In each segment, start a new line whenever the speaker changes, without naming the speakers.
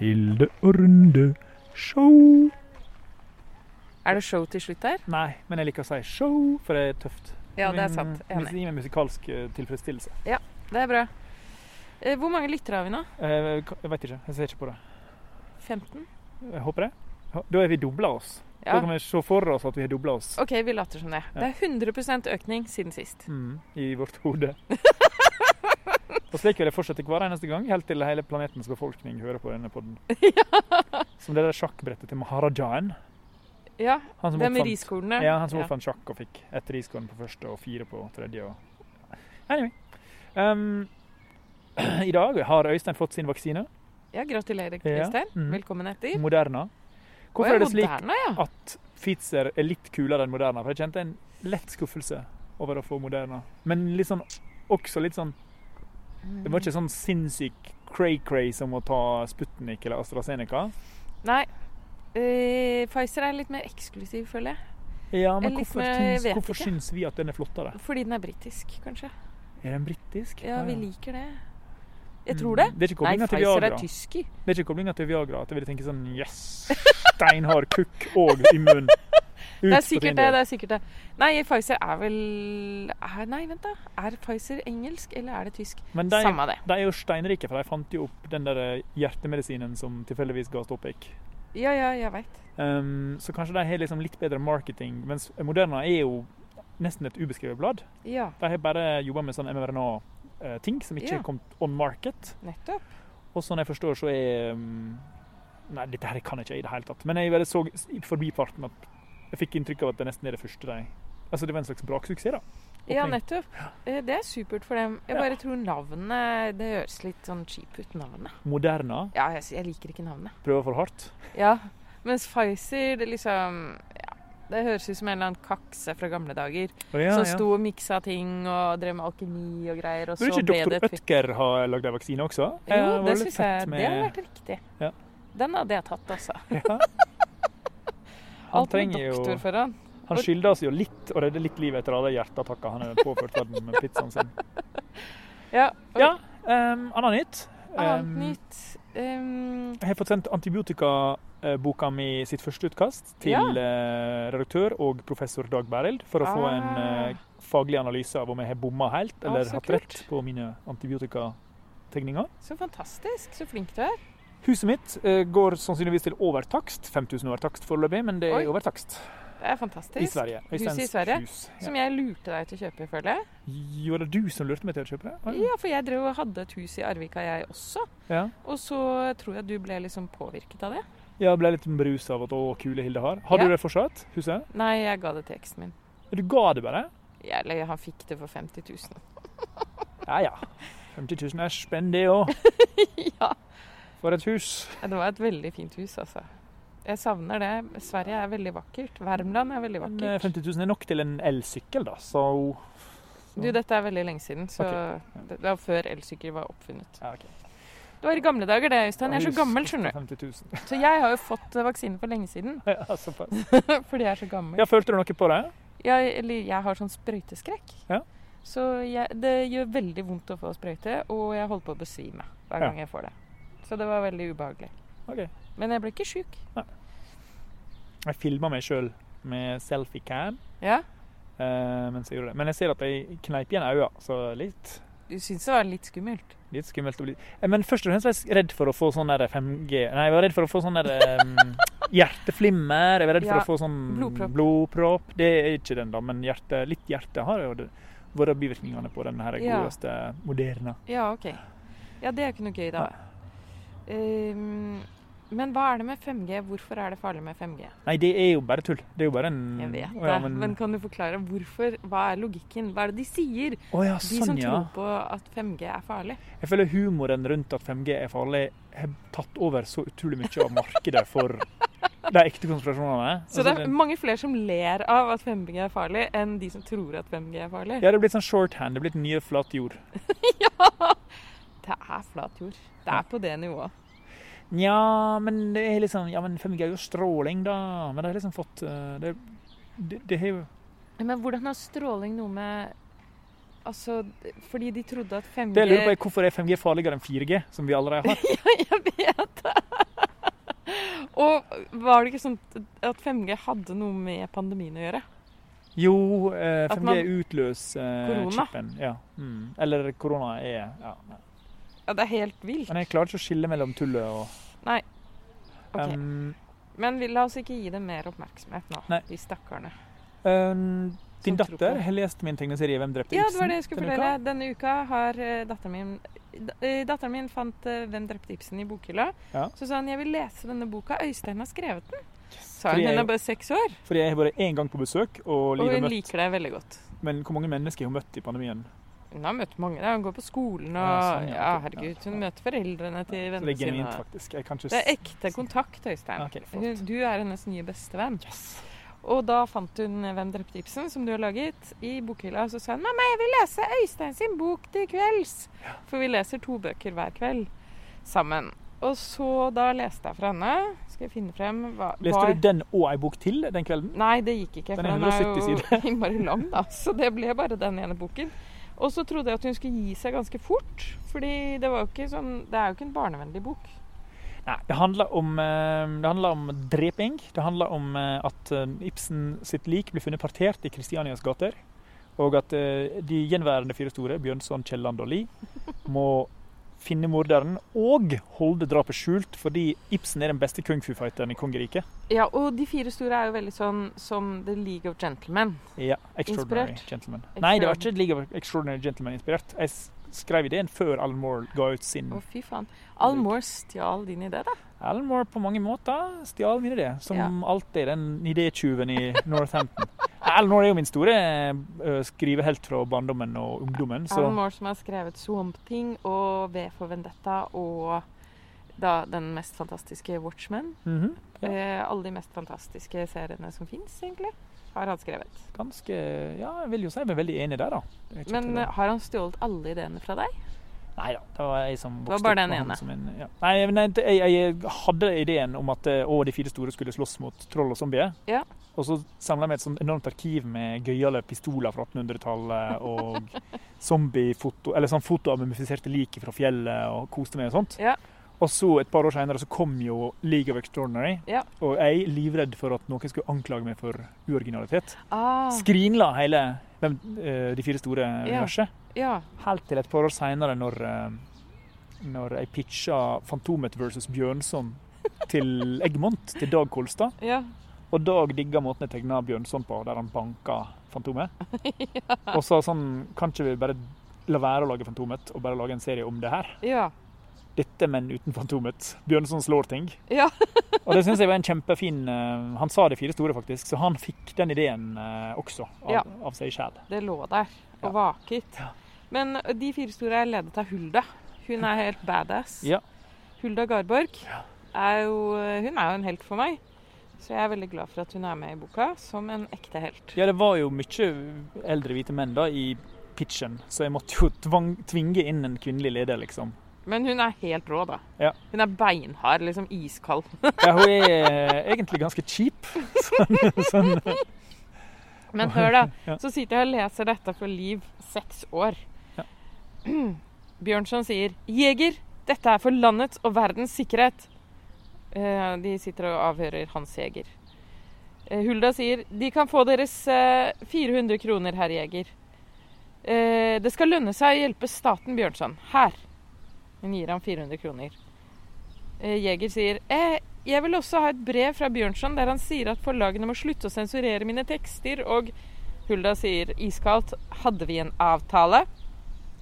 Hilde og Runde show.
Er det show til slutt der?
Nei, men jeg liker å si show, for det er tøft.
Ja, det er
Men,
sant.
men Det
Enig.
gir meg musikalsk eh, tilfredsstillelse.
Mm. Det er bra. Eh, Hvor mange lyttere har vi nå?
Eh, ka- Jeg veit ikke. Jeg ser ikke på det.
15?
Jeg håper det. Ha- Da er vi dobla oss. Da
Ja.
kan vi se for oss at vi har dobla oss
OK, vi later som det. Det er 100 økning siden sist.
mm, i vårt hode. og slik vil jeg fortsette hver eneste gang, helt til hele planetens befolkning hører på denne podden. Som det der sjakkbrettet til maharajaen.
Ja,
Han
det er med
oppfant-
riskornene.
Ja, han som
Ja.
oppfant sjakk og fikk ett riskorn på første og fire på tredje. Og... Anyway. Um, I dag har Øystein fått sin vaksine,
Ja, gratulerer,
Ja,
Øystein.
mhm.
Velkommen etter.
Moderna.
Mm. Å,
Hvorfor
ja,
er det slik
Moderna, ja.
at Pfizer er litt kulere enn Moderna? For jeg kjente en lett skuffelse over å få Moderna. Men litt sånn, også litt sånn Det var ikke sånn sinnssyk cray-cray som å ta Sputnik eller AstraZeneca.
Nei. Eh, Pfizer er litt mer eksklusiv, føler jeg.
Ja, men
Jeg liksom,
hvorfor,
jeg
syns,
vet
hvorfor
ikke.
syns vi at den er flottere?
Fordi den er britisk, kanskje.
Er den britisk?
Ja, vi liker det. Jeg
Mm.
tror det.
Det er ikke
Nei,
koblinga til
Pfizer
Viagra.
er tysker.
Det er ikke koblinga til Viagra at jeg ville tenke sånn Yes! Steinhard kukk og i munnen. Ut
Det
på
er sikkert det.
Tinder.
det er sikkert det. Nei, Pfizer er vel er, Nei, vent, da. Er Pfizer engelsk, eller er det tysk?
Men de,
Samme det.
de er jo steinrike, for de fant jo opp den der eh, hjertemedisinen som tilfeldigvis ga stoppik.
Ja, ja, jeg veit.
Um, så kanskje de har liksom litt bedre marketing, mens Moderna er jo nesten et ubeskrevet blad.
Ja,
De har bare jobba med sånn MRNA-ting eh, som ikke
Ja.
er kommet on market.
nettopp.
Og sånn jeg forstår, så er um, Nei, dette her kan jeg ikke i det hele tatt. Men jeg bare så i forbifarten at jeg fikk inntrykk av at det nesten er det første de Altså, det var en slags braksuksess, da.
Ja,
Åpning.
nettopp. Eh, Det er supert for dem. Jeg
Ja.
bare tror navnet Det høres litt sånn cheap ut, navnet.
Moderna
Ja, jeg, jeg liker ikke navnet.
prøver for hardt.
Ja, mens Pfizer, det liksom ja, Det høres ut som en eller annen kakse fra gamle dager. som sto og miksa ting og drev med alkemi og greier. Og så
Burde
ble
ikke
det
doktor
et
Ødger ha lagd ei vaksine også?
Jo,
Eh, var
det
litt
syns
fett
jeg.
med-
Det hadde vært riktig.
Ja.
Den hadde jeg tatt, altså.
Ja. Han
Alt med
trenger jo
doktor foran.
Han skylder oss jo litt å redde litt liv etter alle hjerteattakker han har påført verden med pizzaen sin.
Ja. og
Ja, um, annet nytt. Um,
Annet
Em,
nytt Ehm, Em,
Jeg har fått sendt antibiotikaboka mi sitt første utkast til
Ja.
eh, redaktør og professor Dag Berild for å få en
Ah.
eh, faglig analyse av om jeg har bomma helt
Ah,
eller
så
hatt
kult.
rett på mine antibiotikategninger.
Så fantastisk. Så flink du er.
Huset mitt eh, går sannsynligvis til overtakst. 5000 overtakst foreløpig, men det er
Oi.
overtakst
Det er fantastisk.
i Sverige.
Huset i
Øysteins
Sverige?
Hus. Ja.
Som jeg lurte deg til å kjøpe, føler jeg.
Jo, det er du som lurte meg til å kjøpe det? Ah,
Ja, for jeg drev og hadde et hus i Arvika, jeg også.
Ja.
Og så tror jeg du ble liksom påvirket av det.
Jeg ble litt berusa av at å, kule Hilde har. Har
Ja.
du det fortsatt? Huset?
Nei, jeg ga det til eksen min.
Du ga det bare?
Jeg- Eller han fikk det for 50 000.
Ja ja. 50 000 er spenn, det òg.
ja.
For et hus.
Ja, Det var et veldig fint hus, altså. Jeg savner det. Sverige er veldig vakkert. Värmland er veldig
Men eh,
vakkert.
50 000 er nok til en elsykkel, da. Så
Du, dette er veldig lenge siden, så
Ok,
det var før elsykkel var oppfunnet.
ja, ok.
Det var i gamle dager, det, Øystein. Jeg er
Hus
så gammel, skjønner du.
50 000.
Så jeg har jo fått eh, vaksine for lenge siden,
Ja, såpass.
fordi jeg er så gammel.
Ja, følte du noe på det?
Jeg, eller jeg har sånn sprøyteskrekk.
Ja.
Så jeg, det gjør veldig vondt å få sprøyte, og jeg holder på å besvime hver
Ja.
gang jeg får det. Så det var veldig ubehagelig.
OK.
Men jeg ble ikke sjuk.
Jeg filma meg sjøl med selfie-cam
Ja.
eh, mens jeg gjorde det. Men jeg ser at jeg kneip igjen øynene, så litt.
Du syns det var litt skummelt?
Litt skummelt å bli Eh, Men først og fremst var jeg redd for å få sånn der 5G Nei, jeg var redd for å få sånn der em, hjerteflimmer. Jeg var redd
Ja,
for å få sånn
blodpropp.
blodpropp. Det er ikke den, da, men hjerte, litt hjerte har jo det- vært bivirkningene på den her
Ja.
godeste Moderna.
Ja, ok. Ja, det er ikke noe gøy, da. Ehm, men hva er det med 5G? Hvorfor er det farlig med 5G?
Nei, det er jo bare tull. Det er jo bare en
Jeg vet det,
Å Mm. ja,
men...
men,
kan du forklare hvorfor? Hva er logikken? Hva er det de sier?
Å ja,
De som
sånn, ja.
tror på at 5G er farlig.
Jeg føler humoren rundt at 5G er farlig, har tatt over så utrolig mye av markedet for de ekte konspirasjonene.
Så
Altså,
det er
den-
mange flere som ler av at 5G er farlig, enn de som tror at 5G er farlig.
ja, det er blitt sånn shorthand. Det er blitt den nye flat jord.
Det er flat jord. Det er på det nivået.
Nja, men det er liksom Ja, men 5G er jo stråling, da. Men det har liksom fått eh, Det, det, det har jo
Men hvordan har stråling noe med Altså, fordi de trodde at 5G
Det jeg lurer på, er hvorfor er 5G farligere enn 4G, som vi allerede har?
Jeg vet det! var det ikke sånn at 5G hadde noe med pandemien å gjøre?
Jo, eh,
At
5G
man-
utløser eh,
Korona.
chipen. Ja. Mm. Eller korona er ja. nei.
Ja, det er helt vilt.
Men jeg klarer ikke å skille mellom tullet og
Ok.
um,
Men vi la oss ikke gi dem mer oppmerksomhet nå,
Nei.
de stakkarene.
um, Din
Som tror
datter
på-
har lest min tegneserie 'Hvem drepte
Ja, det
Ibsen'?
var det jeg skulle
denne
fortelle. Denne uka har eh, datteren min da- eh, Datteren min fant eh, 'Hvem drepte Ibsen?' i bokhylla.
Ja.
Så sa hun 'jeg vil lese denne boka, Øystein har skrevet den'. Sa
Fordi
hun.
jeg-
Hun er bare seks år,
uka. Fordi jeg har vært én gang på besøk, og
og
Liv har
hun
møtt
liker deg veldig godt.
Men hvor mange mennesker har hun møtt i pandemien?
Hun har møtt mange. da. Hun går på skolen og
Ja, sånn, ja,
Ja,
ok.
herregud.
Ja.
Hun møter foreldrene
Så
til
det
vennene
er genuint,
sine.
faktisk. Jeg kan ikke s-
Det er ekte kontakt, Øystein.
Ok, flott.
Hun, du er hennes nye bestevenn.
Yes.
Og da fant hun 'Hvem drepte Ibsen', som du har laget, i bokhylla. Og så sa hun 'Mamma, jeg vil lese Øystein sin bok til kvelds'. For vi leser to bøker hver kveld sammen. Og så da leste jeg fra henne. Skal jeg finne frem hva
Leste
hva-
du den og ei bok til den kvelden?
Nei, det gikk
Den
ikke. For
er
den
170
er jo innmari lang, da. Så det ble bare den ene boken. Og så trodde jeg at hun skulle gi seg ganske fort. Fordi det, var jo ikke sånn, det er jo ikke en barnevennlig bok.
Nei, det handler om, eh, det handler om dreping. Det handler om eh, at eh, Ibsen sitt lik blir funnet partert i Kristianias gater. Og at eh, de gjenværende fire store, Bjørnson, Kielland og Lie, må finne morderen og holde drapet skjult, fordi Ibsen er den beste kung fu-fighteren i kongeriket.
Ja, og De fire store er jo veldig sånn som The League of Gentlemen.
Ja, Extraordinary
Inspirert?
Gentleman. Nei, det var ikke League of Extraordinary Gentleman inspirert. Jeg s- skrev ideen før Alan Moore ga ut sin
Å, fy faen. Al Moore stjal din idé, da.
Alan Moore på mange måter stjal min idé, som
Ja.
alltid den idétyven i Northampton. Alan Moore er jo min store eh, skrivehelt fra barndommen og ungdommen,
Alan
så
Moore som har skrevet 'Swamp Thing' og 'V for Vendetta' og da den mest fantastiske 'Watchmen'.
mhm, Ja.
Eh, alle de mest fantastiske seriene som fins, egentlig, har han skrevet.
ganske Ja, jeg vil jo si jeg er veldig enig der, da. Det er ikke
Men
til å-
eh, har han stjålet alle ideene fra deg?
Nei da, det var jeg som
var
vokste
bare
opp
den
med han
ene.
som en ja. Nei, men jeg, jeg, jeg hadde ideen om at eh, å, de fire store skulle slåss mot troll og zombier.
Ja.
Og så samla jeg meg et sånt enormt arkiv med gøyale pistoler fra 1800-tallet og zombiefoto, eller sånn foto av mumifiserte lik fra fjellet og koste meg og sånt.
Ja.
Og så et par år senere så kom jo League of Extraordinary,
Ja.
og jeg livredd for at noen skulle anklage meg for uoriginalitet.
Ah,
Skrinla hele hvem, eh, De fire store
Ja.
universet.
ja.
Helt til et par år seinere, når, eh, når jeg pitcha Fantomet versus Bjørnson til Eggmont, til Dag Kolstad.
ja.
Og Dag digga måten jeg tegna Bjørnson på, der han banka Fantomet. Og sa sånn Kan ikke vi bare la være å lage Fantomet, og bare lage en serie om det her?
Ja.
Dette, men uten Fantomet. Bjørnson slår ting.
Ja.
Og det syns jeg var en kjempefin eh, Han sa de fire store, faktisk, så han fikk den ideen eh, også, av,
Ja.
av seg sjæl.
Det lå der
Ja.
og vaket.
Ja.
Men de fire store er ledet av Hulda. Hun er helt badass.
Ja.
Hulda Garborg er jo, hun er jo en helt for meg. Så jeg er veldig glad for at hun er med i boka som en ekte helt.
Ja, det var jo mye eldre hvite menn da i pitchen, så jeg måtte jo tvang, tvinge inn en kvinnelig leder, liksom.
Men hun er helt rå, da.
Ja.
Hun er beinhard, liksom iskald.
Ja, hun er eh, egentlig ganske kjip.
Men hør, da.
Ja.
Så sitter jeg og leser dette for Liv, seks år.
Ja.
Bjørnson sier 'Jeger, dette er for landets og verdens sikkerhet'. Eh, De sitter og avhører Hans Jeger. Eh, Hulda sier 'De kan få deres eh, 400 kroner, herr Jeger'. Eh, 'Det skal lønne seg å hjelpe staten, Bjørnson. Her.' Hun gir ham 400 kroner. Eh, Jeger sier eh, jeg vil også ha et brev fra Bjørnson der han sier at forlagene må slutte å sensurere mine tekster, og Hulda sier iskaldt 'Hadde vi en avtale?'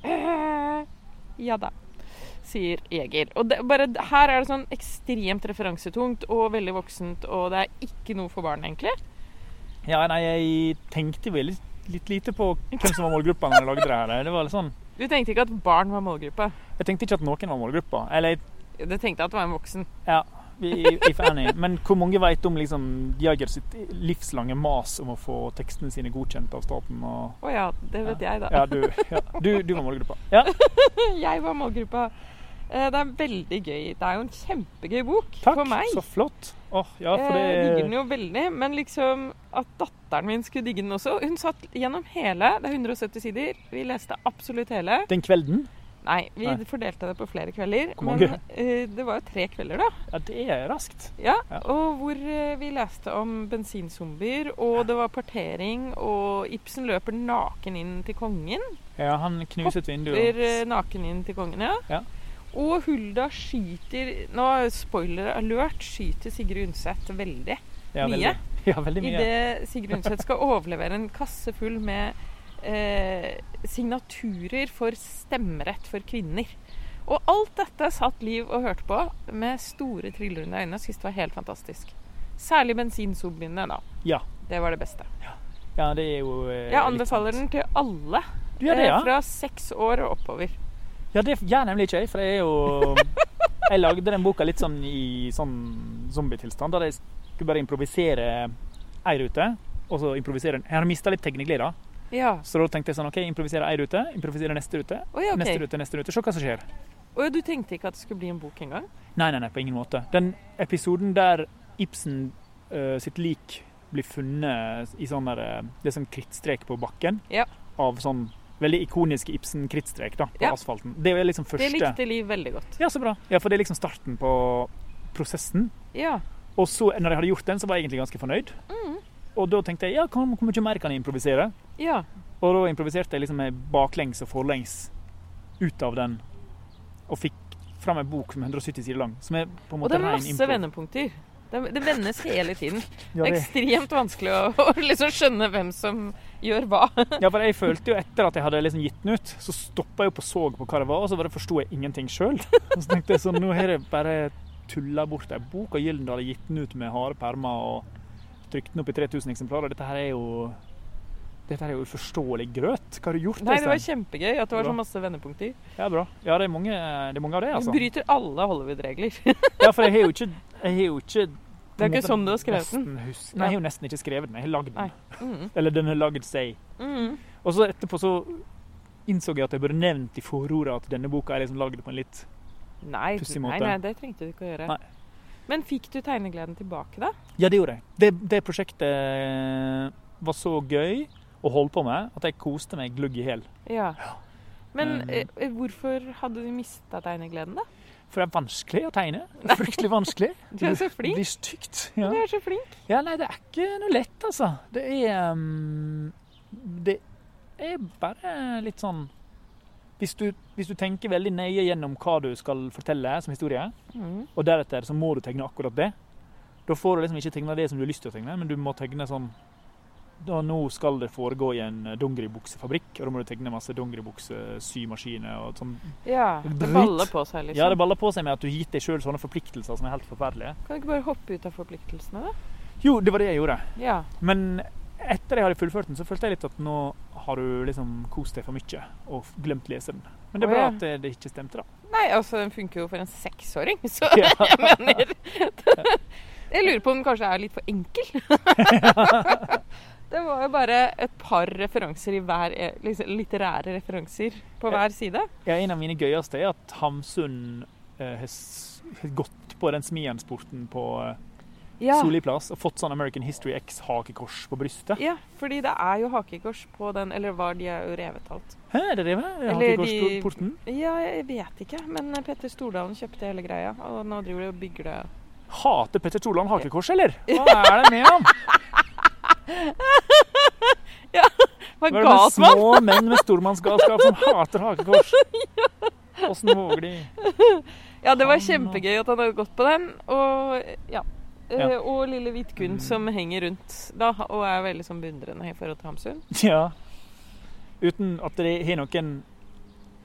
Eh, ja da, sier Jeger. Og det, bare, her er det sånn ekstremt referansetungt og veldig voksent, og det er ikke noe for barn, egentlig.
Ja, nei, jeg tenkte vel litt, litt lite på hvem som var målgruppa når jeg lagde det her. Det var litt sånn
Du tenkte ikke at barn var målgruppa.
Jeg tenkte ikke at noen var målgruppa. Eller
Du tenkte at det var en voksen.
i- if any. Men hvor mange vet om liksom Jagers sitt livslange mas om å få tekstene sine godkjent av staten og
Å ja, det vet jeg, da.
Ja, du, ja, du, du var målgruppa. Ja,
Jeg var målgruppa. Eh, Det er veldig gøy. Det er jo en kjempegøy bok
takk.
for meg. Eh,
Så flott. Åh, ja, for
Jeg digger den
det
jo veldig, men liksom at datteren min skulle digge den også. Hun satt gjennom hele, det er 170 sider, vi leste absolutt hele.
Den kvelden
Nei, vi
Nei.
fordelte det på flere kvelder.
Hvor mange?
Men eh, det var jo tre kvelder, da.
Ja, det er raskt.
Ja,
Ja.
Og hvor eh, vi leste om bensinsombier, og det var partering, og Ibsen løper naken inn til kongen.
Ja, han knuset vinduet.
Løper eh, naken inn til kongen, ja.
Ja.
Og Hulda skyter Nå, spoiler alert, skyter Sigrid Undset veldig.
Ja,
eh, mye.
veldig. Ja, veldig mye.
Idet Sigrid Undset skal overlevere en kasse full med eh, signaturer for stemmerett for kvinner. Og alt dette satt Liv og hørte på med store, trillende øyne og syntes det var helt fantastisk. Særlig bensinsombiene, da.
Ja.
Det var det beste.
Ja, det er jo eh,
Jeg
litt
anbefaler
sant.
den til alle
Du gjør det,
eh,
ja?
fra seks år og oppover.
Ja, det gjør nemlig ikke jeg, for jeg er jo Jeg lagde den boka litt sånn i sånn zombietilstand, der jeg skulle bare improvisere ei rute. Og så improvisere Jeg hadde mista litt teknikk, da.
Ja.
Så da tenkte jeg sånn OK, improvisere ei rute, improvisere neste rute,
Oi, ok.
neste rute, neste rute. Se hva som skjer.
Og du tenkte ikke at det skulle bli en bok engang?
Nei, nei, nei, på ingen måte. Den episoden der Ibsen eh, sitt lik blir funnet i sånn der eh, Det er sånn krittstrek på bakken.
Ja.
Av sånn veldig ikoniske Ibsen-krittstrek da, på
Ja.
asfalten. Det er liksom første
Det likte Liv veldig godt.
Ja, så bra. Ja, for det er liksom starten på prosessen.
Ja.
Og så, når jeg hadde gjort den, så var jeg egentlig ganske fornøyd.
Mm.
Og da tenkte jeg ja, hvor hvor mye mer kan jeg improvisere?
Ja.
Og da improviserte jeg liksom med baklengs og forlengs ut av den. Og fikk fram en bok som er 170 sider lang. Som er på en
Og
måte
det er
ren
masse
impro.
vendepunkter. Det, det vendes hele tiden.
Ja,
det er
det,
ekstremt vanskelig å, å liksom skjønne hvem som gjør hva.
ja, for jeg følte jo etter at jeg hadde liksom gitt den ut, så stoppa jeg opp og så på hva det var, og så bare forsto jeg ingenting sjøl. Og så tenkte jeg sånn, nå har jeg bare tulla bort ei bok, og Gyldendal har gitt den ut med harde permer og trykt den opp i 3000 eksemplarer. Dette her er jo dette her er jo uforståelig grøt. Hva har du gjort?
Nei, det var
Øystein?
kjempegøy at det var
Bra.
så masse vendepunkter.
Ja, bra. Ja, det er mange, det er mange av det,
Vi
altså.
bryter alle Hollywood-regler.
Ja, for jeg har jo ikke, jeg har jo ikke
Det er ikke sånn du har skrevet den.
nesten hus- Nei, jeg har jo nesten ikke skrevet den. Jeg har lagd
Nei.
den.
Mm.
Eller den har lagd seg.
Mm.
Og så etterpå så innså jeg at jeg burde nevnt i forordet at denne boka er liksom lagd på en litt
Nei,
Pussig måte.
nei, nei, det trengte du ikke å gjøre.
Nei.
Men fikk du tegnegleden tilbake, da?
Ja, det gjorde jeg. Det, det prosjektet var så gøy å holde på med at jeg koste meg glugg i hjel.
Ja. Men
Um.
eh, hvorfor hadde du mista tegnegleden, da?
For det er vanskelig å tegne. Fryktelig vanskelig.
Du er så flink.
Det blir stygt. Ja.
Du er så flink.
ja, nei, det er ikke noe lett, altså. Det er um, Det er bare litt sånn hvis du, hvis du tenker veldig nøye gjennom hva du skal fortelle som historie,
Mm.
Og deretter så må du tegne akkurat det. Da får du liksom ikke tegne det som du har lyst til å tegne, men du må tegne sånn da Nå skal det foregå i en eh, dongeribuksefabrikk, og da må du tegne masse dongeribuksesymaskiner og sånn.
Ja. Det
Dritt.
baller på seg, liksom.
Ja, det baller på seg med at du har gitt deg sjøl sånne forpliktelser som er helt forferdelige.
Kan du ikke bare hoppe ut av forpliktelsene, da?
Jo, det var det jeg gjorde.
Ja.
Men etter jeg hadde fullført den, så følte jeg litt at nå har du liksom kost deg for mye og glemt leseren. Men det er
Å,
bra
ja.
at det, det ikke stemte, da.
Nei, altså, den funker jo for en seksåring, så
Ja.
jeg mener Jeg lurer på om den kanskje er litt for enkel. Det var jo bare et par referanser i hver liksom, Litterære referanser på hver side.
Ja, en av mine gøyeste er at Hamsun eh, har s- har gått på den smiensporten på eh,
Ja.
Solli plass og fått sånn American History X-hakekors på brystet.
ja, fordi det er jo hakekors på den, eller var de er jo revet alt.
Hæ, er det det? med
Eller de-
Hakekorsporten?
Ja, jeg vet ikke, men Petter Stordalen kjøpte hele greia, og nå driver de og bygger det
Hater Petter Stordalen hakekors, eller? Hva er det med ham? Hva
Hva
er det med
galt, mann?
små menn med stormannsgalskap som hater hakekors? Åssen våger de?
Ja, det var
Han,
kjempegøy at han hadde gått på den. Og ja.
Ja.
Eh, Og lille Vidkun som henger rundt da, og er veldig sånn beundrende i forhold til Hamsun.
Ja. Uten at de har noen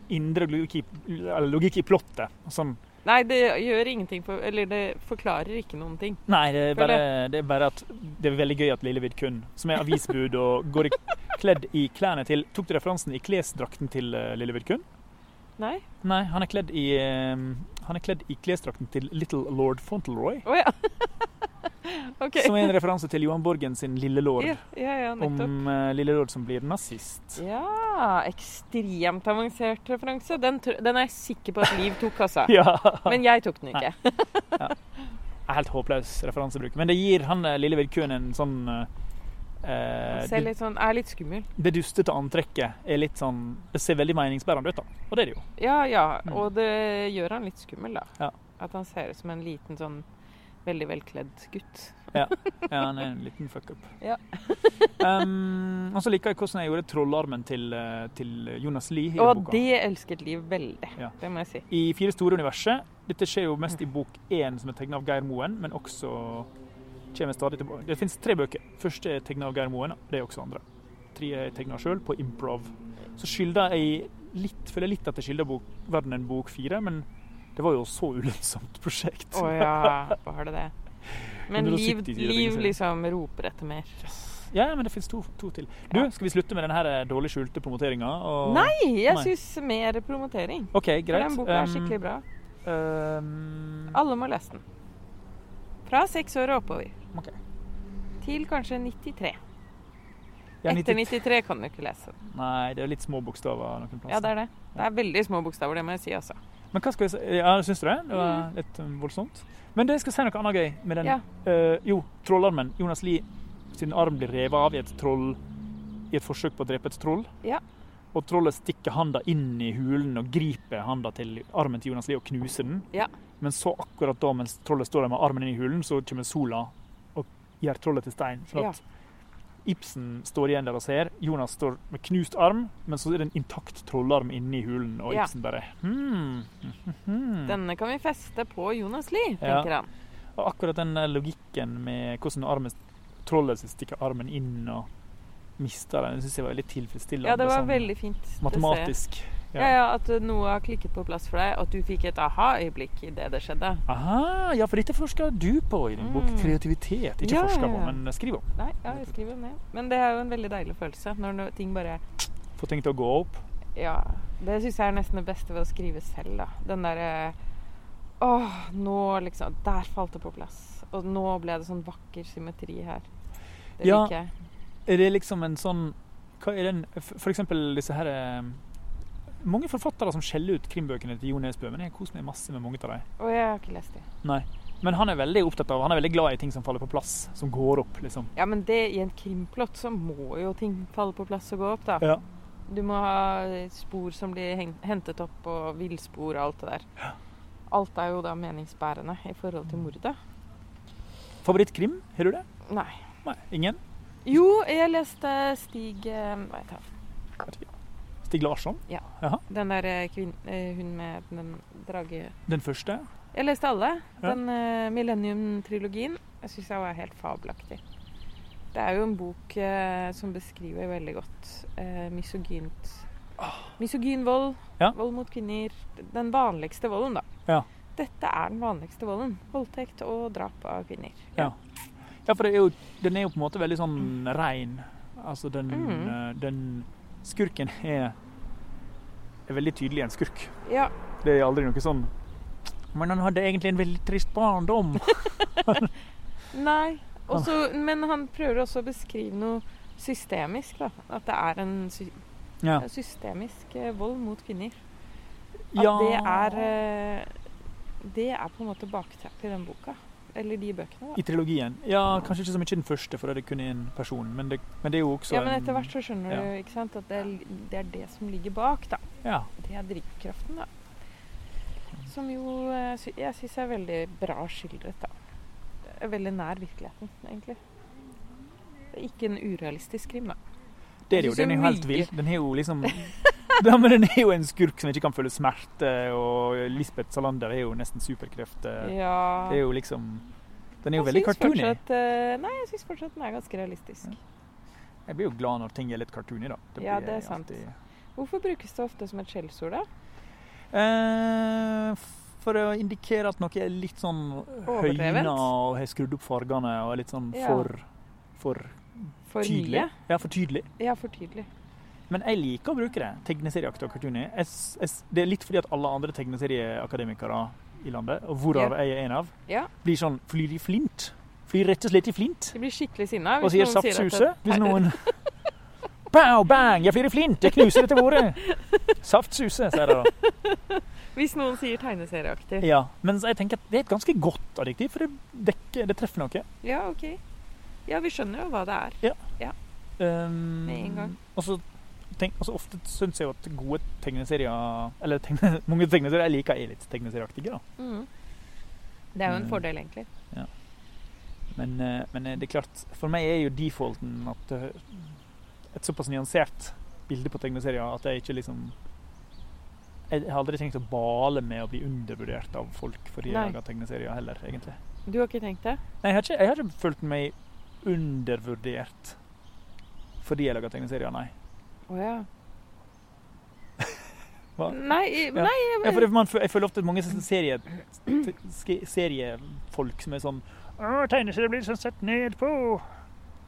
indre logikk, i- eller logikk i plottet. Sånn
Nei, det gjør ingenting for Eller det forklarer ikke noen ting.
Nei, det er, bare, det er bare at det er veldig gøy at Lille Vidkun, som er avisbud og går i, kledd i klærne til Tok du referansen i klesdrakten til eh, Lille Vidkun?
Nei?
Nei, han er kledd i eh, Han er kledd i klesdrakten til Little Lord Fauntleroy.
Å ja. OK.
Som er en referanse til Johan Borgen sin Lille Lord.
Ja, ja, ja
om
nettopp.
eh, Lille Lord som blir nazist.
Ja, ekstremt avansert referanse. Den, tr- den er jeg sikker på at Liv tok, altså.
Ja.
Men jeg tok den ikke.
Helt håpløs referansebruk. Men det gir han eh, Lille Vidkun en sånn eh, Eh,
Ser litt sånn, er litt skummel.
det, det dustete antrekket er litt sånn Det ser veldig meningsbærende ut, da. Og det er det jo.
Ja, ja.
Mm.
Og det gjør han litt skummel, da.
Ja.
At han ser ut som en liten sånn veldig velkledd gutt.
Ja, han er en liten fuck-up.
Ja.
um, og så liker jeg hvordan jeg gjorde trollarmen til, eh, til Jonas Lie i
Og
boka.
det elsket Liv veldig.
Ja.
Det må jeg si.
I Fire store universet. Dette skjer jo mest i bok én, som er tegna av Geir Moen, men også kommer stadig tilbake. Det fins tre bøker. Første er tegna av Geir Moen, det er også andre. Tre er tegna sjøl, på improv. Så skylder jeg litt, føler jeg litt at jeg skylder bok, verdenen bok fire, men det var jo så ulønnsomt prosjekt.
Å ja, var det det?
170
Men Liv,
sider,
Liv
tenker jeg.
liksom roper etter mer.
Ja, men det fins to, to til. Du,
Ja.
skal vi slutte med den her dårlig skjulte promoteringa?
Nei, jeg
Nei.
syns mer promotering.
OK,
For
greit.
den boka er
Um,
skikkelig bra.
um,
Alle må lese den. Fra seks år og oppover.
Ok.
Til kanskje 93.
ja,
Etter
90
93 kan du ikke lese den.
Nei, det er litt små bokstaver noen plasser.
Ja, det er det. Det er veldig små bokstaver, det må jeg si, altså.
Men hva skal jeg si? Ja, syns du det? Det var litt um, voldsomt. Men det jeg skal si noe annet gøy med den.
Mm. Ja.
Eh, jo, trollarmen. Jonas Lie sin arm blir revet av i et troll i et forsøk på å drepe et troll.
Ja.
Og trollet stikker handa inn i hulen og griper handa til armen til Jonas Lie og knuser den.
Ja.
Men så akkurat da mens trollet står der med armen inn i hulen, så kommer sola og gjør trollet til stein. Sånn at Ibsen står igjen der og ser. Jonas står med knust arm, men så er det en intakt trollarm inni hulen, og
Ja.
Ibsen bare hmm, mhm, mhm.
Denne kan vi feste på Jonas Lie, tenker han.
Og akkurat den der logikken med hvordan armen, trollet som stikker armen inn og mister den, syns jeg var veldig tilfredsstillende.
Ja, det var
sånn
veldig fint. å se.
matematisk. ja.
Ja, ja, At noe har klikket på plass for deg. At du fikk et aha-øyeblikk idet det skjedde.
Aha, ja, for dette forsker du på i din bok.
Mm.
Kreativitet. Ikke
Ja,
forsker
ja,
på,
ja.
men skriv om.
Nei, ja, jeg skriver ned. Men det er jo en veldig deilig følelse når no- ting bare
Få ting til å gå opp.
Ja. Det syns jeg er nesten det beste ved å skrive selv, da. Den derre Åh, nå liksom Der falt det på plass. Og nå ble det sånn vakker symmetri her. Det
Ja.
liker jeg.
Er det liksom en sånn hva er den, f- For eksempel disse her eh, Mange forfattere som skjeller ut krimbøkene til Jo Nesbø, men jeg har kost meg masse med mange av dem.
Og jeg har ikke lest det.
Men han er veldig opptatt av, han er veldig glad i ting som faller på plass, som går opp, liksom.
Ja, men det i en krimplott så må jo ting falle på plass og gå opp, da.
Ja.
Du må ha spor som blir heng- hentet opp, og villspor og alt det der. Alt er jo da meningsbærende i forhold til mordet.
Favorittkrim, har du det?
Nei.
Nei, ingen?
Jo, jeg leste Stig eh, Hva heter han?
Stig Larsson,
Den der eh, kvinn... eh, Hun med den drage...
den første.
Jeg leste alle.
Ja.
Den eh, Millennium-trilogien. Jeg syns jeg var helt fabelaktig. Det er jo en bok eh, som beskriver veldig godt eh, misogynt Misogyn vold,
Ja.
vold mot kvinner. Den vanligste volden, da.
Ja.
Dette er den vanligste volden. Voldtekt og drap av kvinner.
Ja. Ja, for det er jo, den er jo på en måte veldig sånn rein. Altså den,
Mm.
eh, den skurken er, er veldig tydelig en skurk.
Ja,
Det er aldri noe sånn Men han hadde egentlig en veldig trist barndom.
Nei. Også, men han prøver også å beskrive noe systemisk, da. At det er en sy
Ja.
systemisk eh, vold mot kvinner. At det er eh, Det er på en måte bakteppet i den boka. Eller de bøkene, da.
I trilogien. Ja, kanskje ikke så mye den første, for det er kun én person. Men det, men det er jo også
Ja, men
en-
etter hvert så skjønner
mm, ja.
du ikke sant, at det er, det er det som ligger bak, da.
Ja.
Det er drivkraften, da. Som jo eh, sy- jeg syns er veldig bra skildret, da. Det er Veldig nær virkeligheten, egentlig. Det er ikke en urealistisk krim, da.
Det er det jo.
Jeg synes
Den er jo
det er
helt
mye.
vill. Den er jo liksom ja, men Den er jo en skurk som ikke kan føle smerte, og Lisbeth Salander er jo nesten superkrefter.
Ja.
Det er jo liksom Den er jo
Jeg
veldig
syns
cartoony.
fortsatt, eh, nei, jeg syns fortsatt den er ganske realistisk.
Jeg blir jo glad når ting er litt cartoony, da.
Ja,
blir
det er
jeg
sant.
alltid-
Hvorfor brukes det ofte som et skjellsord, da?
Eh, f- for å indikere at noe er litt sånn
Overdrevent.
høyna og har skrudd opp fargene og er litt sånn
Ja.
for, for
For
tydelig.
mye?
Ja, for tydelig.
Ja, for tydelig.
Men jeg liker å bruke det. Tegneserieaktig og cartoony. Jeg s- jeg s- Det er litt fordi at alle andre tegneserieakademikere i landet, og hvorav
Ja.
jeg er en av,
Ja.
blir sånn flyr i flint. Flyr rett og slett i flint.
De blir skikkelig sinna
Og
hvis
sier
noen sier at
saftsuse hvis noen Pow, bang, jeg flyr i flint, jeg knuser dette bordet. Saftsuse, sier de da.
Hvis noen sier tegneserieaktig.
Ja, mens jeg tenker at det er et ganske godt adjektiv, for det, dekker, det treffer noe.
Ja, OK. Ja, vi skjønner jo hva det er.
Um,
Med en gang.
Og så tenk, altså ofte syns jeg jo at gode tegneserier Eller tegne, mange tegneserier jeg liker, er litt tegneserieaktige. da.
Mhm. Det er jo en
Mm.
fordel, egentlig.
Men, eh, men eh, det er klart, for meg er jo defaulten at eh, et såpass nyansert bilde på tegneserier at jeg ikke liksom Jeg har aldri tenkt å bale med å bli undervurdert av folk fordi jeg
Nei.
lager tegneserier heller, egentlig.
Du har ikke tenkt det?
Nei, jeg har ikke, jeg har ikke følt meg undervurdert fordi jeg lager tegneserier, nei.
Å ja.
Hva?
Nei, i-
Ja.
nei
Ja, for det, man, fø- jeg føler ofte at mange sånne serie, ske- seriefolk som er sånn «Åh, tegneserier blir sånn sett ned på.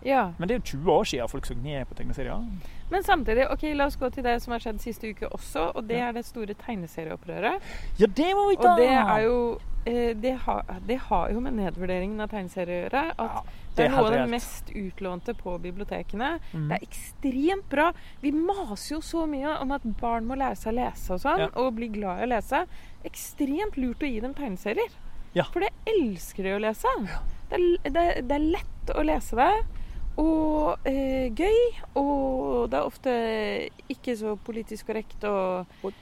ja.
Men det er jo 20 år siden folk så ned på tegneserier.
Men samtidig, ok, la oss gå til det som har skjedd siste uke også, og det
Ja.
er det store tegneserieopprøret.
Ja, det må vi
Og
ta!
det er jo eh, det har, det har jo med nedvurderingen av tegneserier å gjøre. At
Ja, er
det er noe av
helt
det
reelt.
mest utlånte på bibliotekene.
Mm.
Det er ekstremt bra. Vi maser jo så mye om at barn må lære seg å lese og sånn,
Ja.
og bli glad i å lese. Ekstremt lurt å gi dem tegneserier.
Ja.
For det elsker de å lese. Det, er, det, er- det er lett å lese det. Og eh, gøy. Og det er ofte ikke så politisk korrekt og,
Og-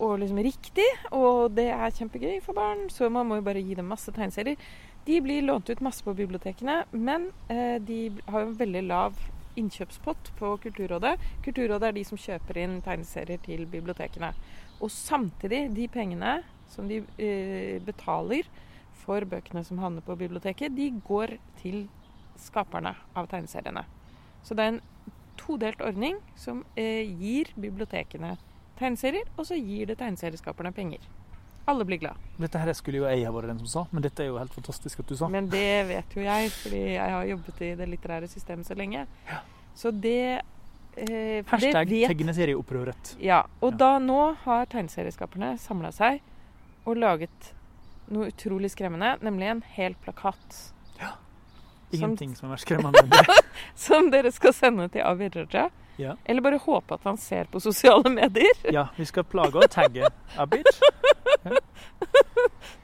og liksom riktig. Og det er kjempegøy for barn, så man må jo bare gi dem masse tegneserier. De blir lånt ut masse på bibliotekene, men eh, de har jo en veldig lav innkjøpspott på Kulturrådet. Kulturrådet er de som kjøper inn tegneserier til bibliotekene. Og samtidig, de pengene som de eh, betaler for bøkene som havner på biblioteket, de går til skaperne av tegneseriene. Så det er en todelt ordning som eh, gir bibliotekene tegneserier, og så gir det tegneserieskaperne penger. Alle blir glad.
Dette her skulle jo jeg ha vært den som sa, men dette er jo helt fantastisk at du sa.
Men det vet jo jeg, fordi jeg har jobbet i det litterære systemet så lenge. Så det eh, for det
Hashtag
vet-
tegneserieopprøret.
Ja. Og
Ja.
da nå har tegneserieskaperne samla seg og laget noe utrolig skremmende, nemlig en hel plakat.
Ingenting som er mer skremmende enn det.
Som dere skal sende til Abid Raja.
Ja.
Eller bare håpe at han ser på sosiale medier.
Ja, vi skal plage og tagge Abid.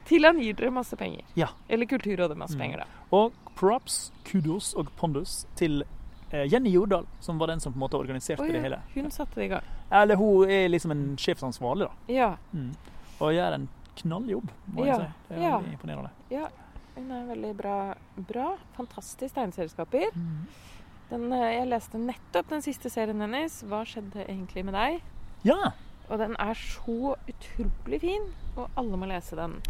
Til han gir dere masse penger.
Ja.
Eller Kulturrådet masse
Mm.
penger, da.
Og props, kudos og pondus til eh, Jenny Jordal, som var den som på en måte organiserte
Å, ja.
det hele.
Hun satte det i gang.
Eller hun er liksom en sjefsansvarlig, da.
Ja.
Mm. Og gjør en knalljobb, må
Ja,
jeg si. Det er
ja.
veldig imponerende.
Hun er veldig bra. bra. Fantastisk tegneserieskaper.
Mm.
Den, eh, jeg leste nettopp den siste serien hennes, 'Hva skjedde egentlig med deg?'
Ja!
Og den er så utrolig fin, og alle må lese den.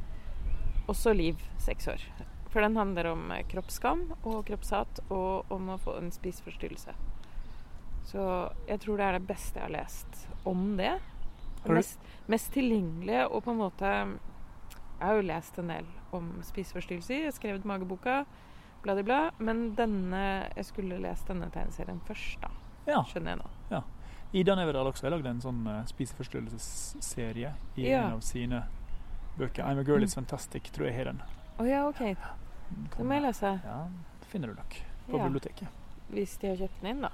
Også Liv, seks år. For den handler om eh, kroppsskam og kroppshat, og om å få en spiseforstyrrelse. Så jeg tror det er det beste jeg har lest om det.
Har du-
Og Mest, mest tilgjengelige, og på en måte Jeg har jo lest en del om spiseforstyrrelser. Jeg har skrevet mageboka, bla, bla, bla. Men denne Jeg skulle lest denne tegneserien først, da.
ja.
Skjønner jeg nå.
Ida Neverdal også har lagd en sånn eh, spiseforstyrrelsesserie i
Ja.
en av sine bøker. 'I'm a girl is
Mm.
fantastic', tror jeg har den.
Å ja, OK. Den må jeg lese.
Ja, det finner du nok på
Ja.
biblioteket.
Hvis de har kjøpt den inn, da.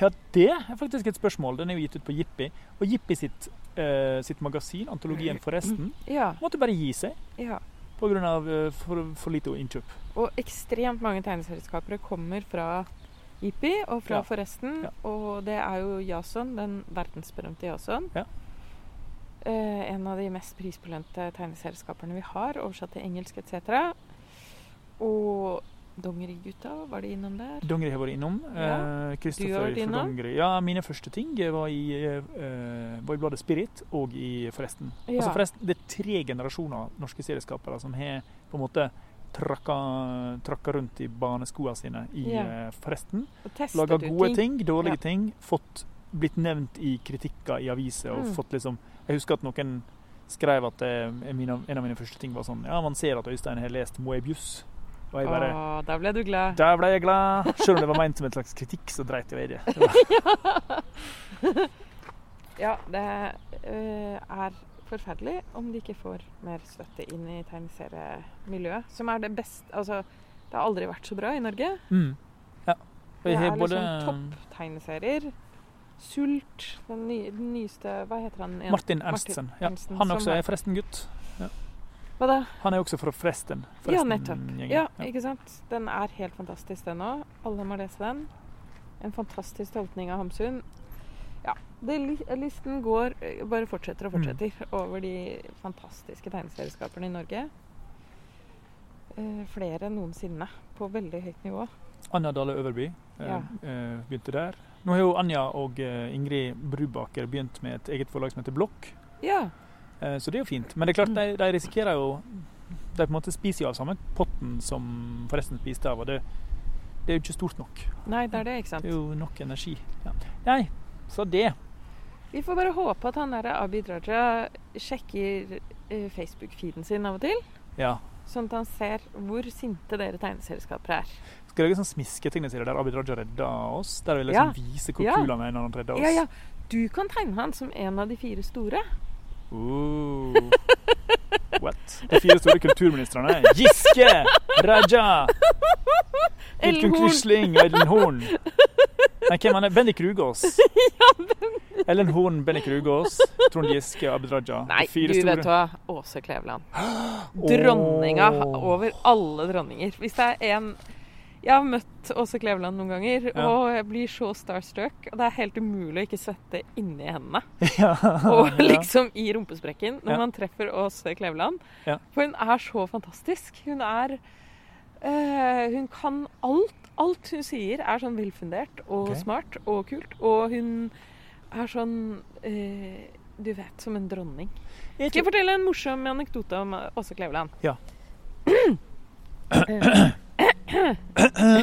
Ja, det er faktisk et spørsmål. Den er jo gitt ut på Jippi. Og Jippi sitt, eh, sitt magasin, antologien forresten,
Ja,
måtte bare gi seg
ja.
pga. Uh, for, for lite innkjøp.
Og ekstremt mange tegneserieskapere kommer fra Jippi og fra
Ja.
Forresten.
Ja.
Og det er jo Jason, den verdensberømte Jason.
Ja.
Eh, en av de mest prisbelønte tegneserieskaperne vi har, oversatt til engelsk etc. Og Dongerigutta, var de innom der?
Dongeri har vært innom.
Ja.
eh,
Du har
Kristoffer
vært
fra
innom.
Dongeri. Ja, mine første ting var i, eh, eh, var i bladet Spirit og i Forresten.
Ja.
Altså forresten, Det er tre generasjoner norske serieskapere som har på en måte trakka, trakka rundt i baneskoene sine i
Ja.
eh, Forresten.
Og testet
Laga
ut
gode
ting.
ting, dårlige
Ja.
ting. Fått, blitt nevnt i kritikker i aviser. Og
Mm.
fått liksom Jeg husker at noen skrev at eh, min, en av mine første ting var sånn Ja, man ser at Øystein har lest Moebius. Og jeg bare
Å, da ble du glad.
Der ble jeg glad. Selv om det var ment som en slags kritikk, så dreit jeg i det. Det var-
Ja, det eh, er forferdelig om de ikke får mer støtte inn i tegneseriemiljøet. Som er det beste Altså, det har aldri vært så bra i Norge.
Mm. Ja. Og
Det
jeg
er
har
liksom
både
Tegneserier. Sult. Den, nye, den nyeste Hva heter han igjen?
Martin Ernstsen. Ja.
Ernstsen,
Han
som
også
er-
er forresten gutt.
Hva da?
Han er også fra Fresten.
Ja, nettopp.
Fresten-gjengen.
Ja, ikke sant? Den er helt fantastisk, den òg. Alle må lese den. En fantastisk tolkning av Hamsun. Ja. Det, li- listen går eh, bare fortsetter og fortsetter over de fantastiske tegneserieskaperne i Norge. Eh, flere enn noensinne. På veldig høyt nivå.
Anja Dale Øverby eh,
Ja.
eh, begynte der. Nå har jo Anja og eh, Ingrid Brubaker begynt med et eget forlag som heter Blokk,
Ja.
eh, så det er jo fint. Men det er klart, de,
Mm.
de risikerer jo De på en måte spiser jo av samme potten som forresten spiste av, og det, det er jo ikke stort nok.
Nei, det er det, ikke sant?
Det er jo nok energi. Ja. Nei, så det.
Vi får bare håpe at han der Abid Raja sjekker eh, Facebook-feeden sin av og til.
Ja.
Sånn at han ser hvor sinte dere tegneserieskaper er.
Skal lage sånn smisketegneserie der Abid Raja redda oss? Der vi liksom viser hvor
Ja.
kul han er når han redder oss?
Ja, ja. Du kan tegne han som en av de fire store.
Oh. What? De fire store kulturministrene. Giske, Raja,
Ellen
Vidkun
Horn.
Quisling og Ellen Horn. Nei, hvem er det? Bendik Rugås. Ellen Horn, Bendik Rugås, Trond Giske og Abid Raja. De
Nei,
fire
du
store.
vet hva. Åse Kleveland. Dronninga
Åh.
over alle dronninger. Hvis det er en Jeg har møtt Åse Kleveland noen ganger,
Ja.
og jeg blir så starstruck. Og det er helt umulig å ikke svette inni hendene.
Ja.
Og
Ja.
liksom i rumpesprekken når
Ja.
man treffer Åse Kleveland.
Ja.
For hun er så fantastisk. Hun er eh, Hun kan alt. Alt hun sier er sånn velfundert og
Ok.
smart og kult. Og hun er sånn eh, Du vet, som en dronning.
Jeg
Skal jeg
tror-
fortelle en morsom anekdote om Åse Kleveland?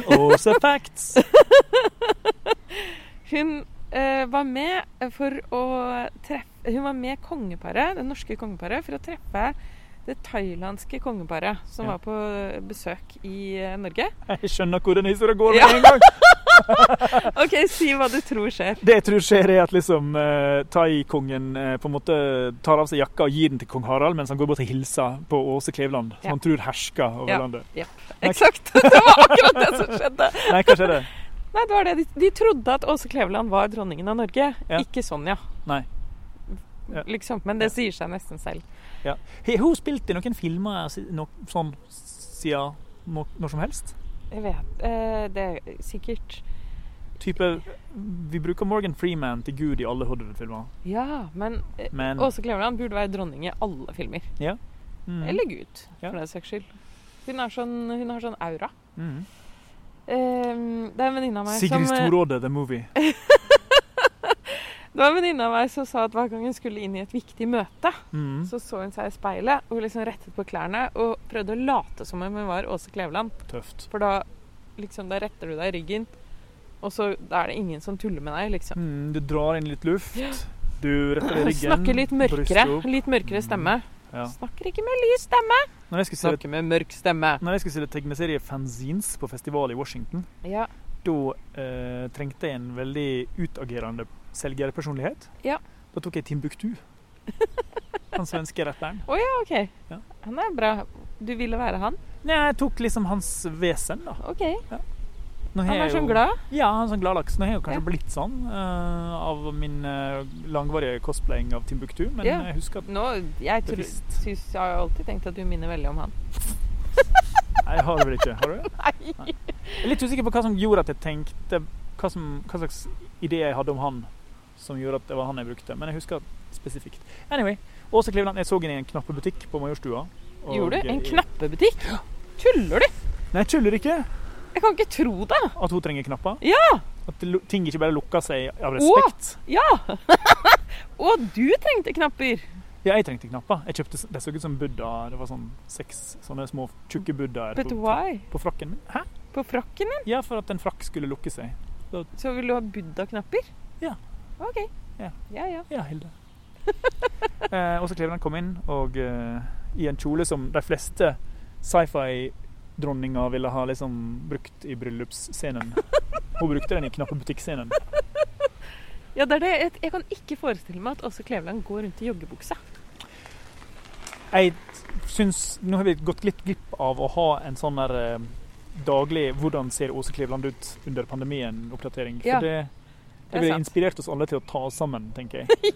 Åse Facts.
Hun eh, var med for å treffe Hun var med kongeparet, det norske kongeparet, for å treffe det thailandske kongeparet som
Ja.
var på besøk i eh, Norge.
Jeg skjønner hvor den historien går med
Ja.
en gang.
OK, si hva du tror skjer.
Det jeg tror skjer, er at liksom eh, thaikongen eh, på en måte tar av seg jakka og gir den til kong Harald mens han går bort og hilser på Åse Kleveland, som
Ja.
han tror hersker over
Ja.
landet.
Eksakt! Det var akkurat det som skjedde.
Nei, hva skjer det?
Nei, det var det. De, de trodde at Åse Kleveland var dronningen av Norge,
Ja.
ikke Sonja.
Nei. Ja.
Liksom, men det sier seg nesten selv.
Har hun spilt i noen filmer si- no, sånn siden no, når som helst?
Jeg vet eh, Det er sikkert
Type Vi bruker Morgan Freeman til gud i alle Hodderud-filmer,
Ja, men eh,
men
Åse Kleveland burde være dronning i alle filmer.
mm,
Eller Gud,
Ja.
for den saks skyld. Hun, er sånn, hun har sånn aura.
mm.
Eh, det er en venninne av meg
Sigrid
som eh,
Storråde, the movie.
Det var en venninne av meg som sa at hver gang hun skulle inn i et viktig møte,
Mm.
så så hun seg i speilet og liksom rettet på klærne og prøvde å late som om hun var Åse Kleveland.
Tøft.
For da liksom, da retter du deg i ryggen, og så da er det ingen som tuller med deg, liksom.
Mm, du drar inn litt luft. Du retter deg i ryggen.
Snakker litt mørkere.
bryster opp.
Litt mørkere stemme.
Ja.
Snakker ikke med lys stemme.
Når jeg skulle se
Snakker med mørk stemme.
Når jeg skulle stille tegneserie fanzines på festival i Washington,
Ja.
da eh, trengte jeg en veldig utagerende selgerpersonlighet.
Ja.
Da tok jeg Timbuktu. Han svenske rapperen.
OK.
Ja.
Han er bra. Du ville være han?
Nei, jeg tok liksom hans vesen, da.
OK.
Nå har
Han
jeg
er sånn
jo-
glad.
Ja, han er sånn gladlaks. Nå har jeg jo kanskje
Ja.
blitt sånn eh, av min eh, langvarige cosplaying av Timbuktu, men
Ja.
jeg husker at
Nå, jeg, tror,
Bevisst.
synes, jeg har jo alltid tenkt at du minner veldig om han.
Nei, jeg har det vel ikke. Har du det?
Nei.
Jeg er litt usikker på hva som gjorde at jeg tenkte Hva, som, hva slags idé jeg hadde om han som gjorde at det var han jeg brukte. Men jeg husker spesifikt. Anyway, Åse Kleveland. Jeg så henne i en knappebutikk på Majorstua. og-
Gjorde du? En knappebutikk? Tuller du?
Nei, jeg tuller ikke
Jeg kan ikke tro det!
at hun trenger knapper.
Ja!
At lu- ting ikke bare lukker seg av respekt.
Ja! Og du trengte knapper!
Ja, jeg trengte knapper. Jeg kjøpte, s- Det så ut som Buddha. Det var sånn seks sånne små tjukke buddhaer
But
på,
why?
på frakken min. Hæ?
På frakken din
Ja, for at en frakk skulle lukke seg.
så vil du ha buddha-knapper?
Ja.
OK.
Ja.
ja. ja.
Ja, Hilde. Eh, Åse Kleveland kom inn og eh, i en kjole som de fleste sci-fi-dronninger ville ha liksom brukt i bryllupsscenen. Hun brukte den i knappebutikkscenen.
Ja, det er det. Jeg- Jeg kan ikke forestille meg at Åse Kleveland går rundt i joggebukse.
Jeg syns Nå har vi gått litt glipp av å ha en sånn der eh, daglig 'Hvordan ser Åse Kleveland ut under pandemien?'-oppdatering. For
Ja,
det,
det er
det ville
sant.
inspirert oss alle til å ta oss sammen, tenker jeg.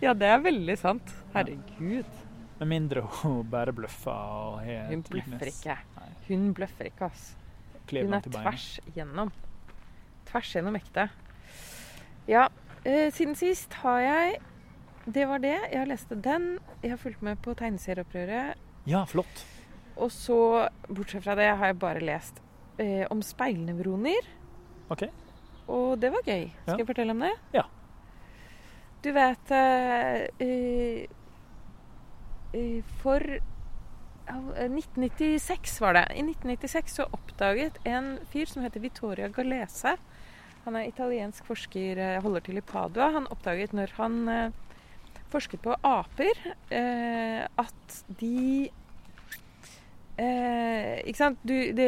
Ja, det er veldig sant. Herregud.
Med mindre hun bare bløffer og har
Hun
et
bløffer
penis.
ikke.
Nei.
Hun bløffer ikke, ass.
Klever
Hun
han
er
til beina.
tvers gjennom. Tvers gjennom ekte. Ja, eh, siden sist har jeg Det var det. Jeg leste den. Jeg har fulgt med på tegneserieopprøret.
Ja, flott.
Og så, bortsett fra det, har jeg bare lest eh, om speilnevroner.
OK.
Og det var gøy. Skal
Ja.
jeg fortelle om det?
Ja.
Du vet eh, eh, eh, For av- eh, 1996 var det. I 1996 så oppdaget en fyr som heter Vittoria Galese. Han er italiensk forsker, eh, holder til i Padua. Han oppdaget når han eh, forsket på aper, eh, at de Eh, ikke sant? Du, det,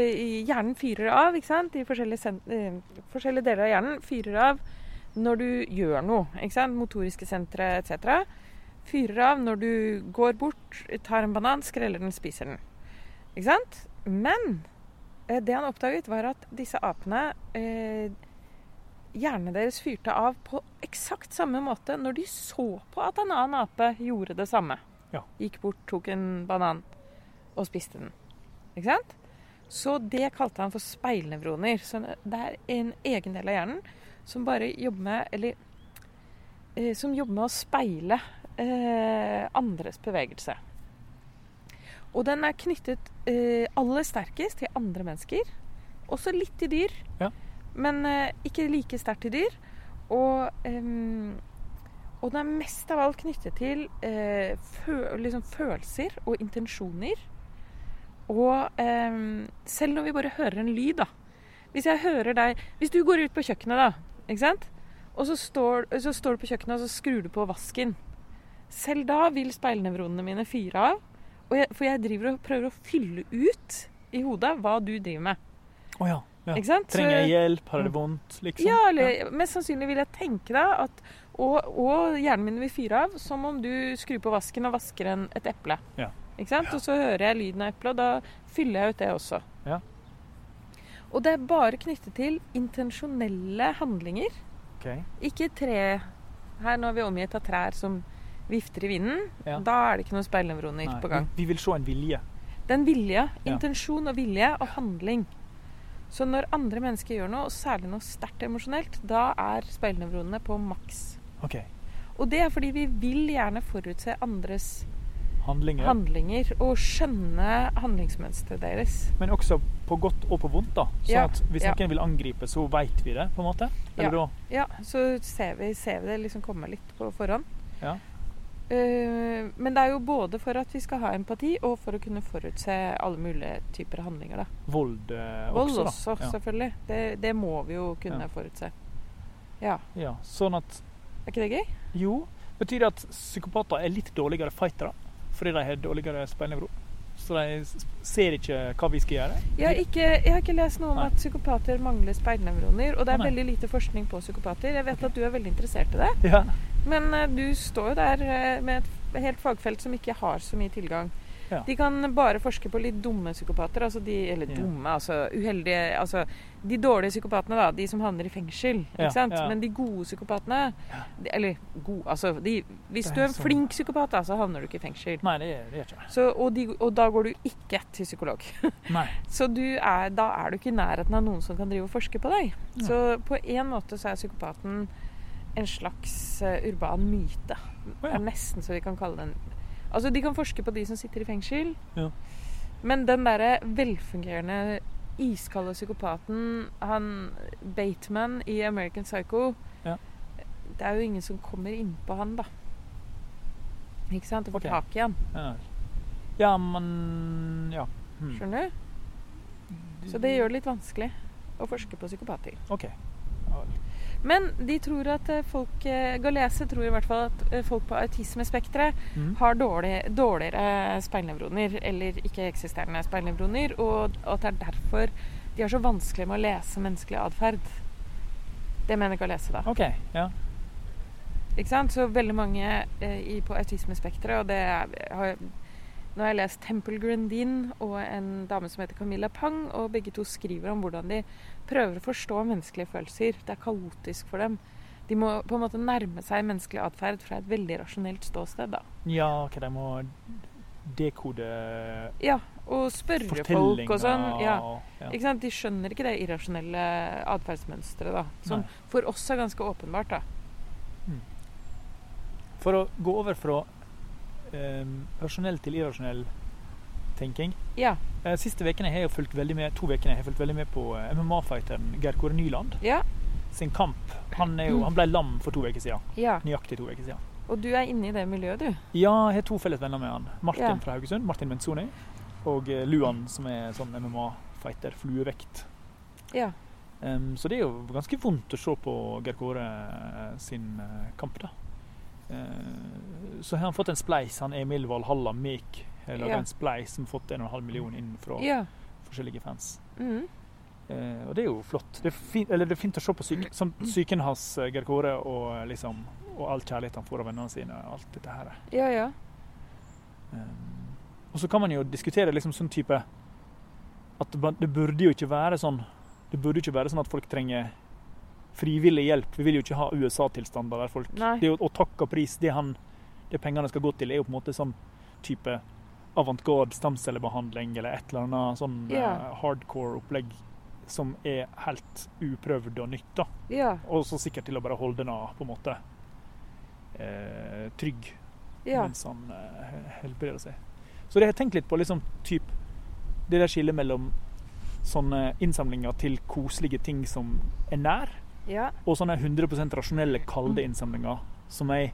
hjernen fyrer av, ikke sant? De forskjellige, sen, eh, forskjellige deler av hjernen fyrer av når du gjør noe. Ikke sant? Motoriske sentre etc. Fyrer av når du går bort, tar en banan, skreller den, spiser den. Ikke sant? Men eh, det han oppdaget, var at disse apene eh, Hjernen deres fyrte av på eksakt samme måte når de så på at en annen ape gjorde det samme.
Ja.
Gikk bort, tok en banan og spiste den. Ikke sant? Så det kalte han for speilnevroner. Så det er en egen del av hjernen som bare jobber med Eller eh, som jobber med å speile eh, andres bevegelse. Og den er knyttet eh, aller sterkest til andre mennesker. Også litt til dyr,
Ja.
men eh, ikke like sterkt til dyr. Og, ehm, og den er mest av alt knyttet til eh, fø liksom følelser og intensjoner. Og ehm, selv når vi bare hører en lyd, da. Hvis jeg hører deg Hvis du går ut på kjøkkenet, da. Ikke sant? Og så står, så står du på kjøkkenet og så skrur du på vasken. Selv da vil speilnevronene mine fyre av. Og jeg, for jeg driver og prøver å fylle ut i hodet hva du driver med.
Å ja. ja.
Ikke sant? Så-
Trenger jeg hjelp? Har jeg det vondt? Liksom.
ja, eller mest sannsynlig vil jeg tenke da at og, og hjernen min vil fyre av, som om du skrur på vasken og vasker en, et eple.
Ja.
Ikke sant? Og så hører jeg lyden av eplet, og da fyller jeg ut det også.
Ja.
Og det er bare knyttet til intensjonelle handlinger.
OK.
Ikke tre Her nå er vi omgitt av trær som vifter i vinden.
Ja.
Da er det ikke noen speilnevroner
Nei,
på gang.
Vi vi vil se en vilje.
Den vilje,
Ja.
intensjon og vilje og handling. Så når andre mennesker gjør noe, og særlig noe sterkt emosjonelt, da er speilnevronene på maks.
OK.
Og det er fordi vi vil gjerne forutse andres
Handlinger.
handlinger og skjønne handlingsmønsteret deres.
Men også på godt og på vondt, da. Sånn
Ja,
at hvis
ja.
noen vil angripe, så veit vi det, på en måte. Eller
Ja, så ser vi, ser vi det liksom komme litt på forhånd.
Ja.
Eh, men det er jo både for at vi skal ha empati, og for å kunne forutse alle mulige typer handlinger. da.
da vold eh,
Vold også,
også, da. ja.
selvfølgelig. Det, det må vi jo kunne
Ja.
forutse. Ja.
ja. Sånn at
Er ikke det gøy?
Jo. Betyr det at psykopater er litt dårligere fightere? Fordi de har dårligere speilnevro? Så de s- ser ikke hva vi skal gjøre?
Jeg har ikke, jeg har ikke lest noe om
Nei.
at psykopater mangler speilnevroner. Og det
Å,
er
nei.
veldig lite forskning på psykopater. Jeg vet at du er veldig interessert i det.
Ja.
Men eh, du står jo der eh, med et f- helt fagfelt som ikke har så mye tilgang.
Ja.
De kan bare forske på litt dumme psykopater. Altså de, eller
Ja.
dumme, altså uheldige Altså de dårlige psykopatene, da. De som havner i fengsel.
Ja,
Ikke sant?
ja.
Men de gode psykopatene de, Eller gode Altså de, hvis
Det
du
er
er en
sånn.
flink psykopat, da, så havner du ikke i fengsel.
Nei, det er det er ikke det.
Så, og, de, og da går du ikke til psykolog.
Nei.
Så du er, da er du ikke i nærheten av noen som kan drive og forske på deg. Så på en måte så er psykopaten en slags eh, urban myte.
Å,
Det
ja.
er nesten så vi kan kalle den Altså, de kan forske på de som sitter i fengsel.
Ja.
Men den derre velfungerende, iskalde psykopaten, han Bateman i American Psycho
Ja.
Det er jo ingen som kommer innpå han, da. Ikke sant? Og får
Ok.
tak i han.
Ja, ja men Ja. Hmm.
Skjønner du?
Mm.
Så det gjør det litt vanskelig å forske på psykopater.
OK.
Men de tror at eh, folk eh, Galese tror i hvert fall at eh, folk på autismespekteret
Mhm.
har dårlig, dårligere speilnevroner, eller ikke-eksisterende speilnevroner, og at det er derfor de har så vanskelig med å lese menneskelig atferd. Det mener Galese, da.
OK. Ja.
Ikke sant? Så veldig mange eh, i, på autismespekteret, og det er, har Nå har jeg lest Temple Grandin og en dame som heter Camilla Pang, og begge to skriver om hvordan de prøver å forstå menneskelige følelser. Det er kaotisk for dem. De må på en måte nærme seg menneskelig atferd fra et veldig rasjonelt ståsted, da.
Ja, ok, de må dekode
Ja, og spørre folk
fortellinger.
og sånn. Ja.
og- ja.
Ikke sant? De skjønner ikke det irrasjonelle atferdsmønsteret, da. Som
Nei.
for oss er ganske åpenbart, da.
For å gå over fra um, rasjonell til irrasjonell tenking
Ja.
Eh, Siste vekene har jeg jo fulgt veldig med, to vekene har jeg fulgt veldig med på eh, MMA-fighteren Geir Kåre Nyland
Ja. Mm.
sin kamp. Han, er jo, han ble lam for to uker siden.
ja.
Nøyaktig to uker siden.
Og du er inne i det miljøet, du.
Ja, jeg har to felles venner med han. Martin
Ja.
fra Haugesund, Martin Menzoni, og eh, Luan, som er sånn MMA-fighter, fluevekt.
Ja.
Em, så det er jo ganske vondt å se på Geir Kåre eh, sin eh, kamp, da. Eh, så har han fått en spleis. Han Emil Valhalla Mek har laga
Ja.
en spleis som har fått 1,5 million inn fra
Ja.
forskjellige fans.
Mhm.
Eh, og det er jo flott. Det er fint, eller det er fint å se på syken, som psyken hans, eh, Geir Kåre, og, eh, liksom, og all kjærlighet han får av vennene sine. og alt dette her.
ja, ja.
Um, Og så kan man jo diskutere liksom sånn type At man- det burde jo ikke være sånn Det burde jo ikke være sånn at folk trenger frivillig hjelp. Vi vil jo ikke ha USA-tilstander der folk
Nei.
det er jo, Og takk og pris, det, han, det pengene skal gå til, er jo på en måte sånn type avantgarde stamcellebehandling eller et eller annet sånn
Ja.
eh, hardcore opplegg som er helt uprøvd og nytt. da.
Ja.
Og så sikkert til å bare holde den av, på en måte. Eh, trygg
Ja.
mens han eh, helbreder seg. Så det har jeg tenkt litt på, liksom typ det der skillet mellom sånne innsamlinger til koselige ting som er nær,
Ja.
og sånne 100 rasjonelle, kalde
Mm.
innsamlinger som jeg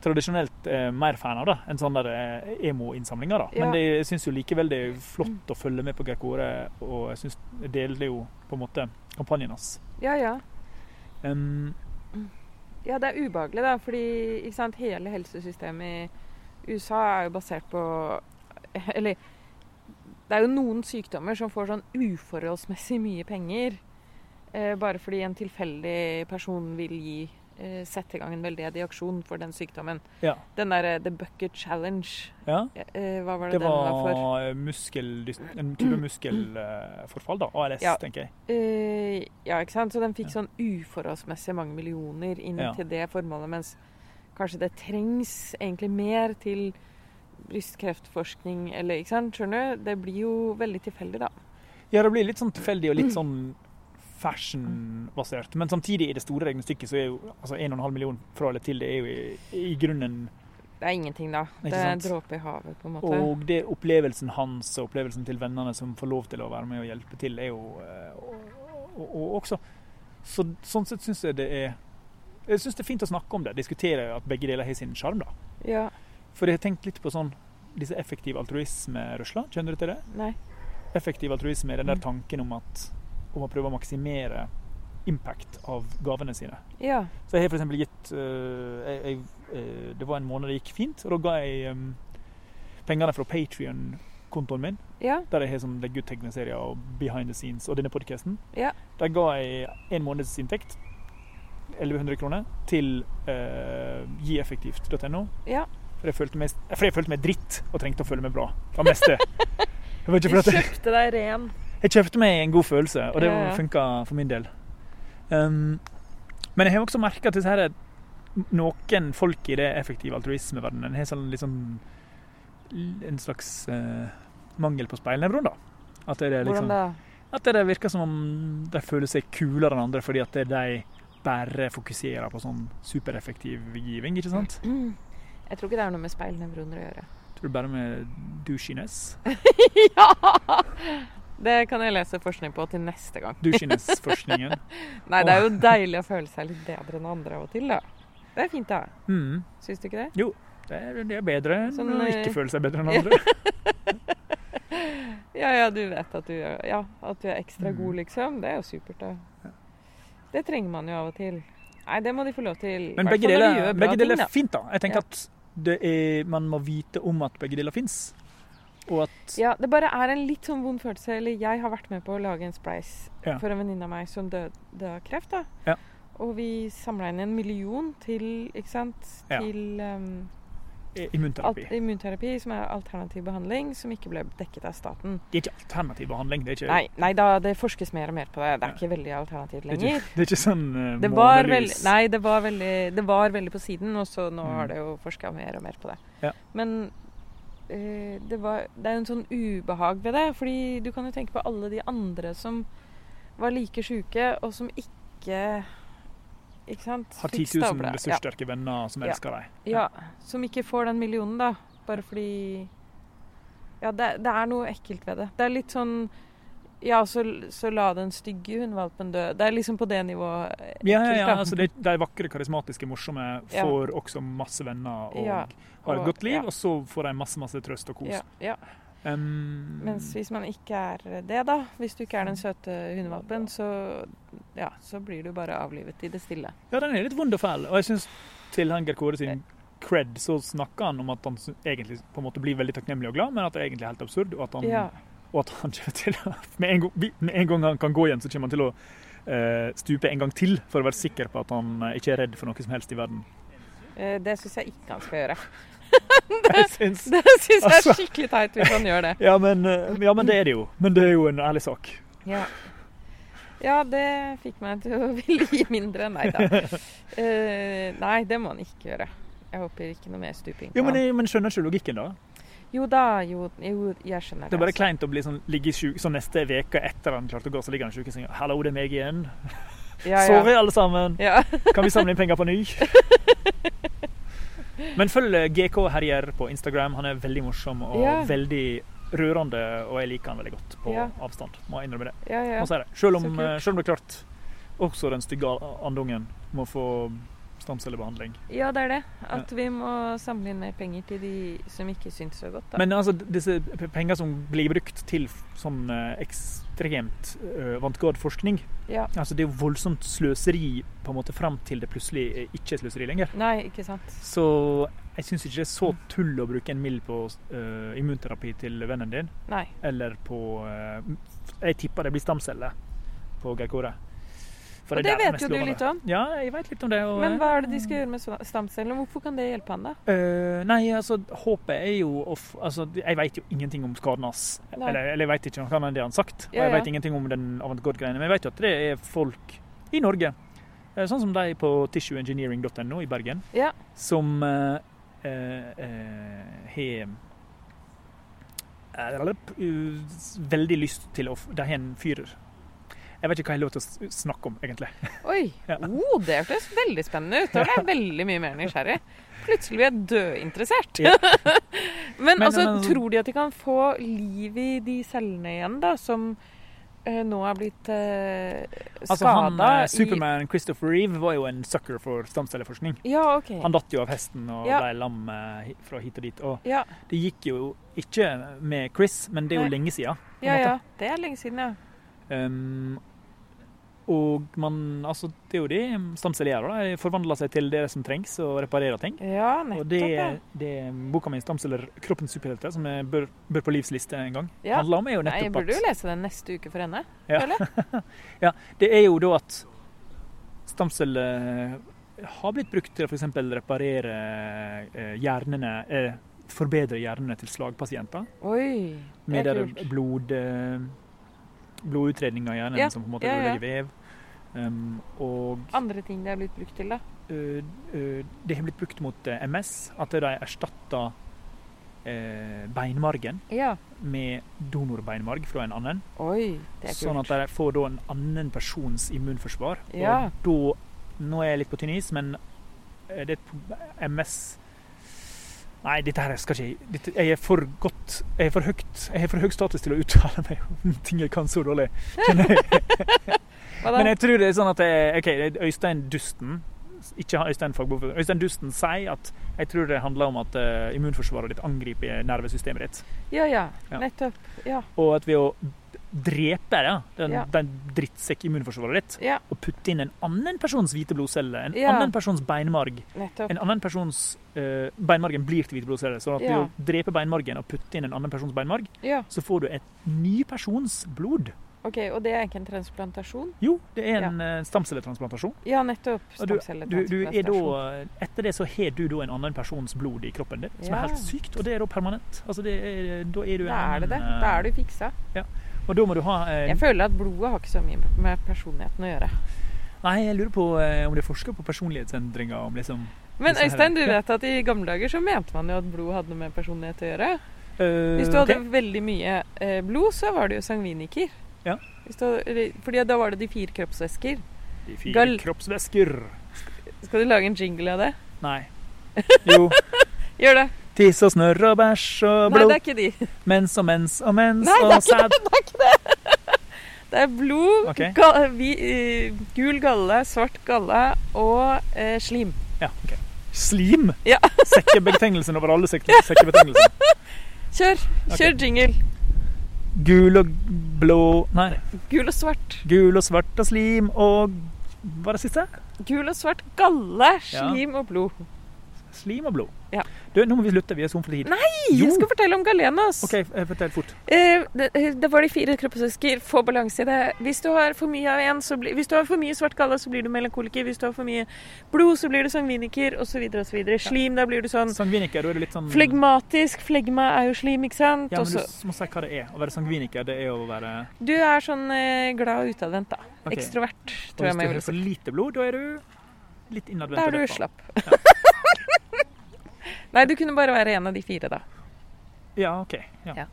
tradisjonelt er mer fan av da, enn sånne der, eh, emo-innsamlinger. da.
Ja.
Men
Mm.
det, jeg syns jo likevel det er flott å følge med på Geir Kåre, og jeg syns jeg deler jo på en måte kampanjen hans.
Ja, ja.
Em,
Ja, det er ubehagelig, da. Fordi ikke sant, hele helsesystemet i USA er jo basert på Eller det er jo noen sykdommer som får sånn uforholdsmessig mye penger. Eh, bare fordi en tilfeldig person vil gi eh, sette i gang en veldedig aksjon for den sykdommen.
ja.
Den derre The Bucket Challenge,
ja.
eh, hva var
Det
det, den var for?
var muskeldys- en type muskelforfall, da. ALS,
Ja.
tenker jeg.
Eh, ja, ikke sant? Så den fikk sånn uforholdsmessig mange millioner inn
Ja.
til det formålet, mens kanskje det trengs egentlig mer til brystkreftforskning eller ikke sant? Skjønner du? Det blir jo veldig tilfeldig, da.
Ja, det blir litt sånn tilfeldig og litt sånn fashion-basert. Men samtidig, i det store regnestykket, så er jo altså 1,5 million fra eller til, det er jo i, i grunnen
Det er ingenting, da.
Ikke
Det er en
sant?
dråpe i havet, på en måte.
Og det er opplevelsen hans og opplevelsen til vennene som får lov til å være med og hjelpe til, er jo eh, og, og, og også så, Sånn sett syns jeg det er Jeg syns det er fint å snakke om det. Diskutere at begge deler har sin sjarm, da.
Ja.
For jeg har tenkt litt på sånn disse effektive altruisme-rusla. Kjenner du til det?
Nei.
effektiv altruisme er den der
Mm.
tanken om at om å prøve å maksimere impact av gavene sine.
Ja.
Så jeg har for eksempel gitt øh, jeg, jeg, øh, Det var en måned det gikk fint, og da ga jeg øhm, pengene fra Patrion-kontoen min,
Ja.
der jeg har sånn som legger ut tegneserier og behind the scenes og denne podkasten.
Ja.
Der ga jeg en måneds inntekt, 1100 kroner, til øh, gieffektivt.no.
Ja.
For jeg, følte meg, for jeg følte meg dritt og trengte å føle meg bra. Det var mest det. Det var
Du
ikke for at jeg-
kjøpte deg ren.
jeg kjøpte meg en god følelse, og det
Ja, ja.
funka for min del. Um, men jeg har også merka at disse her, noen folk i det effektive altruismeverdenen har sånn, litt sånn- en slags eh, mangel på speilnevron, da. At det, er
Hvordan
liksom,
da?
at det virker som om de føler seg kulere enn andre fordi at det er de bare fokuserer på sånn supereffektiv giving, ikke sant?
Mm. Jeg tror ikke det har noe med speilnevroner å gjøre.
Tror du bare med douchiness?
ja! Det kan jeg lese forskning på til neste gang.
Douchiness-forskningen.
Nei, det er jo deilig å føle seg litt bedre enn andre av og til, da. Det er fint, da.
Mm.
Syns du ikke det?
Det er, det er bedre enn
Sånn,
å
eh,
ikke føle seg bedre enn
ja.
andre.
Ja, ja, du vet at du, ja, at du er ekstra
Mm.
god, liksom. Det er jo supert, da. Det trenger man jo av og til. Nei, det må de få lov til.
Men
Hvertfall
begge
når de
deler,
gjør bra
begge deler
ting,
er fint, da. Jeg
Ja.
tenker at det er, man må vite om at begge deler fins. Og at
da. Ja, det bare er en litt sånn vond følelse. Eller jeg har vært med på å lage en spleis
Ja.
for en venninne av meg som døde av kreft, da.
Ja.
Og vi samla inn en million til, ikke sant,
Ja.
til ehm,
eh,
alt,
immunterapi
immunterapi, som er alternativ behandling, som ikke ble dekket av staten.
Det er ikke alternativ behandling. Det er ikke,
Nei, nei da, det forskes mer og mer på det. Det er
Ja.
ikke veldig alternativt
det er ikke,
lenger.
det er ikke sånn eh,
Det var,
månelys.
veldig, nei, det, var veldig, det var veldig på siden, og så nå
Mm.
har det jo forska mer og mer på det.
Ja.
Men eh, eh, det, var, det er jo en sånn ubehag ved det. Fordi du kan jo tenke på alle de andre som var like sjuke, og som ikke Ikke sant?
Har
Fikk
10 000
stabla-
ressurssterke venner som
Ja.
elsker deg.
Ja, ja. Som ikke får den millionen, da. Bare fordi Ja, det, det er noe ekkelt ved det. Det er litt sånn Ja, så, så la den stygge hundvalpen dø. Det er liksom på det nivået.
Ja, ja, ja.
Ekkelt, da.
Altså, de, de vakre, karismatiske, morsomme
Ja.
får også masse venner og
Ja,
har et
og-
godt liv,
ja.
og så får de masse masse trøst og kos.
Ja, ja.
Em,
Mens hvis man ikke er det, da. Hvis du ikke er den søte hundevalpen, så Ja, så blir du bare avlivet i det stille.
Ja, den er litt vond og fæl. Og jeg syns tilhenger Kåre sin cred, så snakker han om at han sy- egentlig på en måte blir veldig takknemlig og glad, men at det er egentlig er helt absurd, og at han,
Ja.
og at han kommer til å med en, gang, med en gang han kan gå igjen, så kommer han til å eh, stupe en gang til for å være sikker på at han eh, ikke er redd for noe som helst i verden.
eh, Det syns jeg ikke han skal gjøre.
Jeg syns
Det syns jeg
Altså.
er skikkelig teit hvis han gjør det.
ja men, eh, ja, men det er det jo. Men det er jo en ærlig sak.
Ja. ja, det fikk meg til å ville gi mindre. Nei da. Eh, nei, det må han ikke gjøre. Jeg håper ikke noe mer stuping. på
Jo, men,
han.
jeg, men skjønner ikke logikken, da?
jo da, jo, jo jeg skjønner
Det er bare
altså.
kleint å bli sånn, ligge i sjuk, så neste uke etter han klarte å gå, så ligger han i sjukesenga. 'Hallo, det er meg igjen.
Ja, ja.
Sorry, alle sammen.'
Ja.
Kan vi samle inn penger på ny? Men følg eh, GK Herjer på Instagram. Han er veldig morsom og
Ja.
veldig rørende, og jeg liker han veldig godt på
Ja.
avstand. Må jeg innrømme det.
ja, ja.
Må si det. Selv, om, eh,
Så kult.
selv om det er klart også den stygge andungen må få stamcellebehandling.
ja, det er det. At vi må samle inn mer penger til de som ikke syns så godt. Da.
Men altså, disse p- penger som blir brukt til f- sånn eh, ekstremt eh, vantgård forskning
ja.
altså Det er jo voldsomt sløseri på en måte fram til det plutselig eh, ikke er sløseri lenger.
Nei, ikke sant.
Så jeg syns ikke det er så tull å bruke en mild på eh, immunterapi til vennen din,
Nei.
eller på eh, Jeg tipper det blir stamceller på Geir Kåre. For
Og det
der er
vet
mest
jo du
lovende.
litt om.
Ja, jeg vet litt om det. Og,
Men hva er det de skal gjøre med sta- stamcellene? Hvorfor kan det hjelpe han, da?
Eh, nei, altså, håpet er jo å f- Altså, jeg vet jo ingenting om skaden hans.
Nei.
Eller, eller jeg vet ikke noe annet enn det han har sagt. Og
Ja,
jeg
ja.
vet ingenting om den avantgarde-greiene, men jeg vet jo at det er folk i Norge, eh, sånn som de på tissueengineering.no i Bergen,
Ja.
som eh, eh, eh, har eh, veldig lyst til å f- De har en fyr Jeg vet ikke hva jeg har lov til å s- snakke om, egentlig.
Oi!
Ja.
Oh, det hørtes veldig spennende ut. Da ble jeg veldig mye mer nysgjerrig. Plutselig blir jeg dødinteressert.
Ja.
men,
Men-
altså,
men-
tror de at de kan få liv i de cellene igjen, da, som eh, nå er blitt uh,
Altså, han,
skada
eh, Superman Christopher Reeve var jo en sucker for stamcelleforskning.
i Ja, OK.
Han datt jo av hesten og
Ja.
ble lam eh, hi- fra hit og dit. Og
Ja,
det gikk jo ikke med Chris, men det er jo
Nei.
lenge siden. på en
ja,
måte.
ja. Det er lenge siden, ja.
Um, og man Altså, det er jo det stamceller gjør. da. De forvandler seg til det som trengs, og reparerer ting.
Ja,
Og
nettopp.
det,
ja.
det boka mi 'Stamceller kroppens superhelter', som jeg bør, bør på livs liste en gang,
Ja.
handler om, er jo
Nei, jeg
nettopp
burde jo
at
lese den neste uke for henne.
Ja.
føler jeg.
Det er jo da at stamceller har blitt brukt til å f.eks. reparere eh, hjernene eh, Forbedre hjernene til slagpasienter.
Oi, det
Med
er
der
kult.
blod, eh, blodutredning av hjernen
Ja,
som på en måte
ja, ja.
ødelegger vev. Um, og
Andre ting det er blitt brukt til, da.
eh, eh, det har blitt brukt mot eh, MS, at de erstatter eh, beinmargen
Ja.
med donorbeinmarg fra en annen.
Oi, det er kult.
Sånn at de får da en annen persons immunforsvar.
Ja.
Og da Nå er jeg litt på tynn is, men eh, det er et pro- MS Nei, dette her skal ikke jeg- dette, Jeg er for godt Jeg er for høyt Jeg har for høy status til å uttale meg om ting jeg kan så dårlig. Kjenner jeg.
Hva da?
Men jeg tror det er sånn at jeg, OK, det er Øystein Dusten ikke han- Øystein Fagbok. Øystein Dusten sier at jeg tror det handler om at eh, immunforsvaret ditt angriper nervesystemet ditt.
Ja, ja.
Ja.
Nettopp. Ja.
Og at ved å drepe ja, den,
Ja.
den drittsekk-immunforsvaret ditt,
ja.
og putte inn en annen persons hvite blodceller, en
Ja.
annen persons beinmarg
Nettopp.
En annen persons eh, Beinmargen blir til hvite blodceller. Så at ved
Ja.
å drepe beinmargen og putte inn en annen persons beinmarg,
Ja,
så får du et ny persons blod.
ok, Og det er ikke en transplantasjon?
Jo, det er en eh, stamcelletransplantasjon.
Ja, nettopp.
Og du, du, du er da,
Stamcelletransplantasjon.
etter det så har du da en annen persons blod i kroppen din, som
Ja.
er helt sykt. Og det er da permanent. Altså det er, da er du
Da er det det.
en, eh,
Da er du fiksa.
Og da må du ha eh,
Jeg føler at blodet har ikke så mye med personligheten å gjøre.
Nei, jeg lurer på eh, om det er forska på personlighetsendringer. Om liksom
Men
Disse her-
Øystein, du
ja.
vet at i gamle dager så mente man jo at blod hadde noe med personlighet å gjøre.
Eh,
Hvis du hadde
ok.
veldig mye eh, blod, så var det jo sangviniker.
Ja.
Hvis du, eller- fordi da var det de fire kroppsvæsker.
De fire
Gal-
kroppsvæsker.
Skal du lage en jingle av det?
Nei. Jo.
Gjør det!
Tiss og snørr og bæsj og
Nei,
blod.
det er ikke de.
Mens og mens og mens
Nei, det er
og sæd.
Det er blod,
Ok.
ga- vi, eh, gul galle, svart galle og eh, slim.
Ja, ok. Slim?
Ja.
Sekkebetegnelsen over alle sek sekkebetegnelser.
Kjør!
Ok.
Kjør jingle.
Gul og blå Nei.
Gul og svart.
Gul og svart og slim og Hva var det siste?
Gul og svart galle, slim og blod.
Slim og blod.
Ja.
Du, nå må vi slutte. Vi er tom for tid. Nei,
Hei, Jeg skal fortelle om Galenas.
OK, eh, fortell fort.
Eh, det, det var de fire kroppsvæsker. Få balanse i det. Hvis du har for mye av en, så blir, hvis du har for mye svart galle, så blir du melankoliker. Hvis du har for mye blod, så blir du sangviniker, osv. osv. Slim, da blir du sånn
Sangviniker, da er du litt sånn
flegmatisk. Flegma er jo slim, ikke sant?
Ja, men
Også-
du må si hva det er. Å være sangviniker, det er å være
du, er sånn eh, glad og utadvendt, da.
Ok.
Ekstrovert,
Og
tror jeg
Hvis du
man vil
har for
si.
lite blod, da er du litt innadvendt. og
Da er du
deppa.
slapp. Nei, du kunne bare være en av de fire, da.
Ja, OK. Ja.
Ja.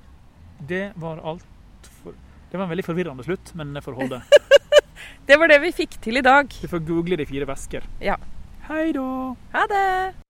Det var alt for Det var en veldig forvirrende slutt, men jeg får holde.
Det var det vi fikk til i dag.
Du får google de fire væsker.
Ja.
Hei da!
Ha det!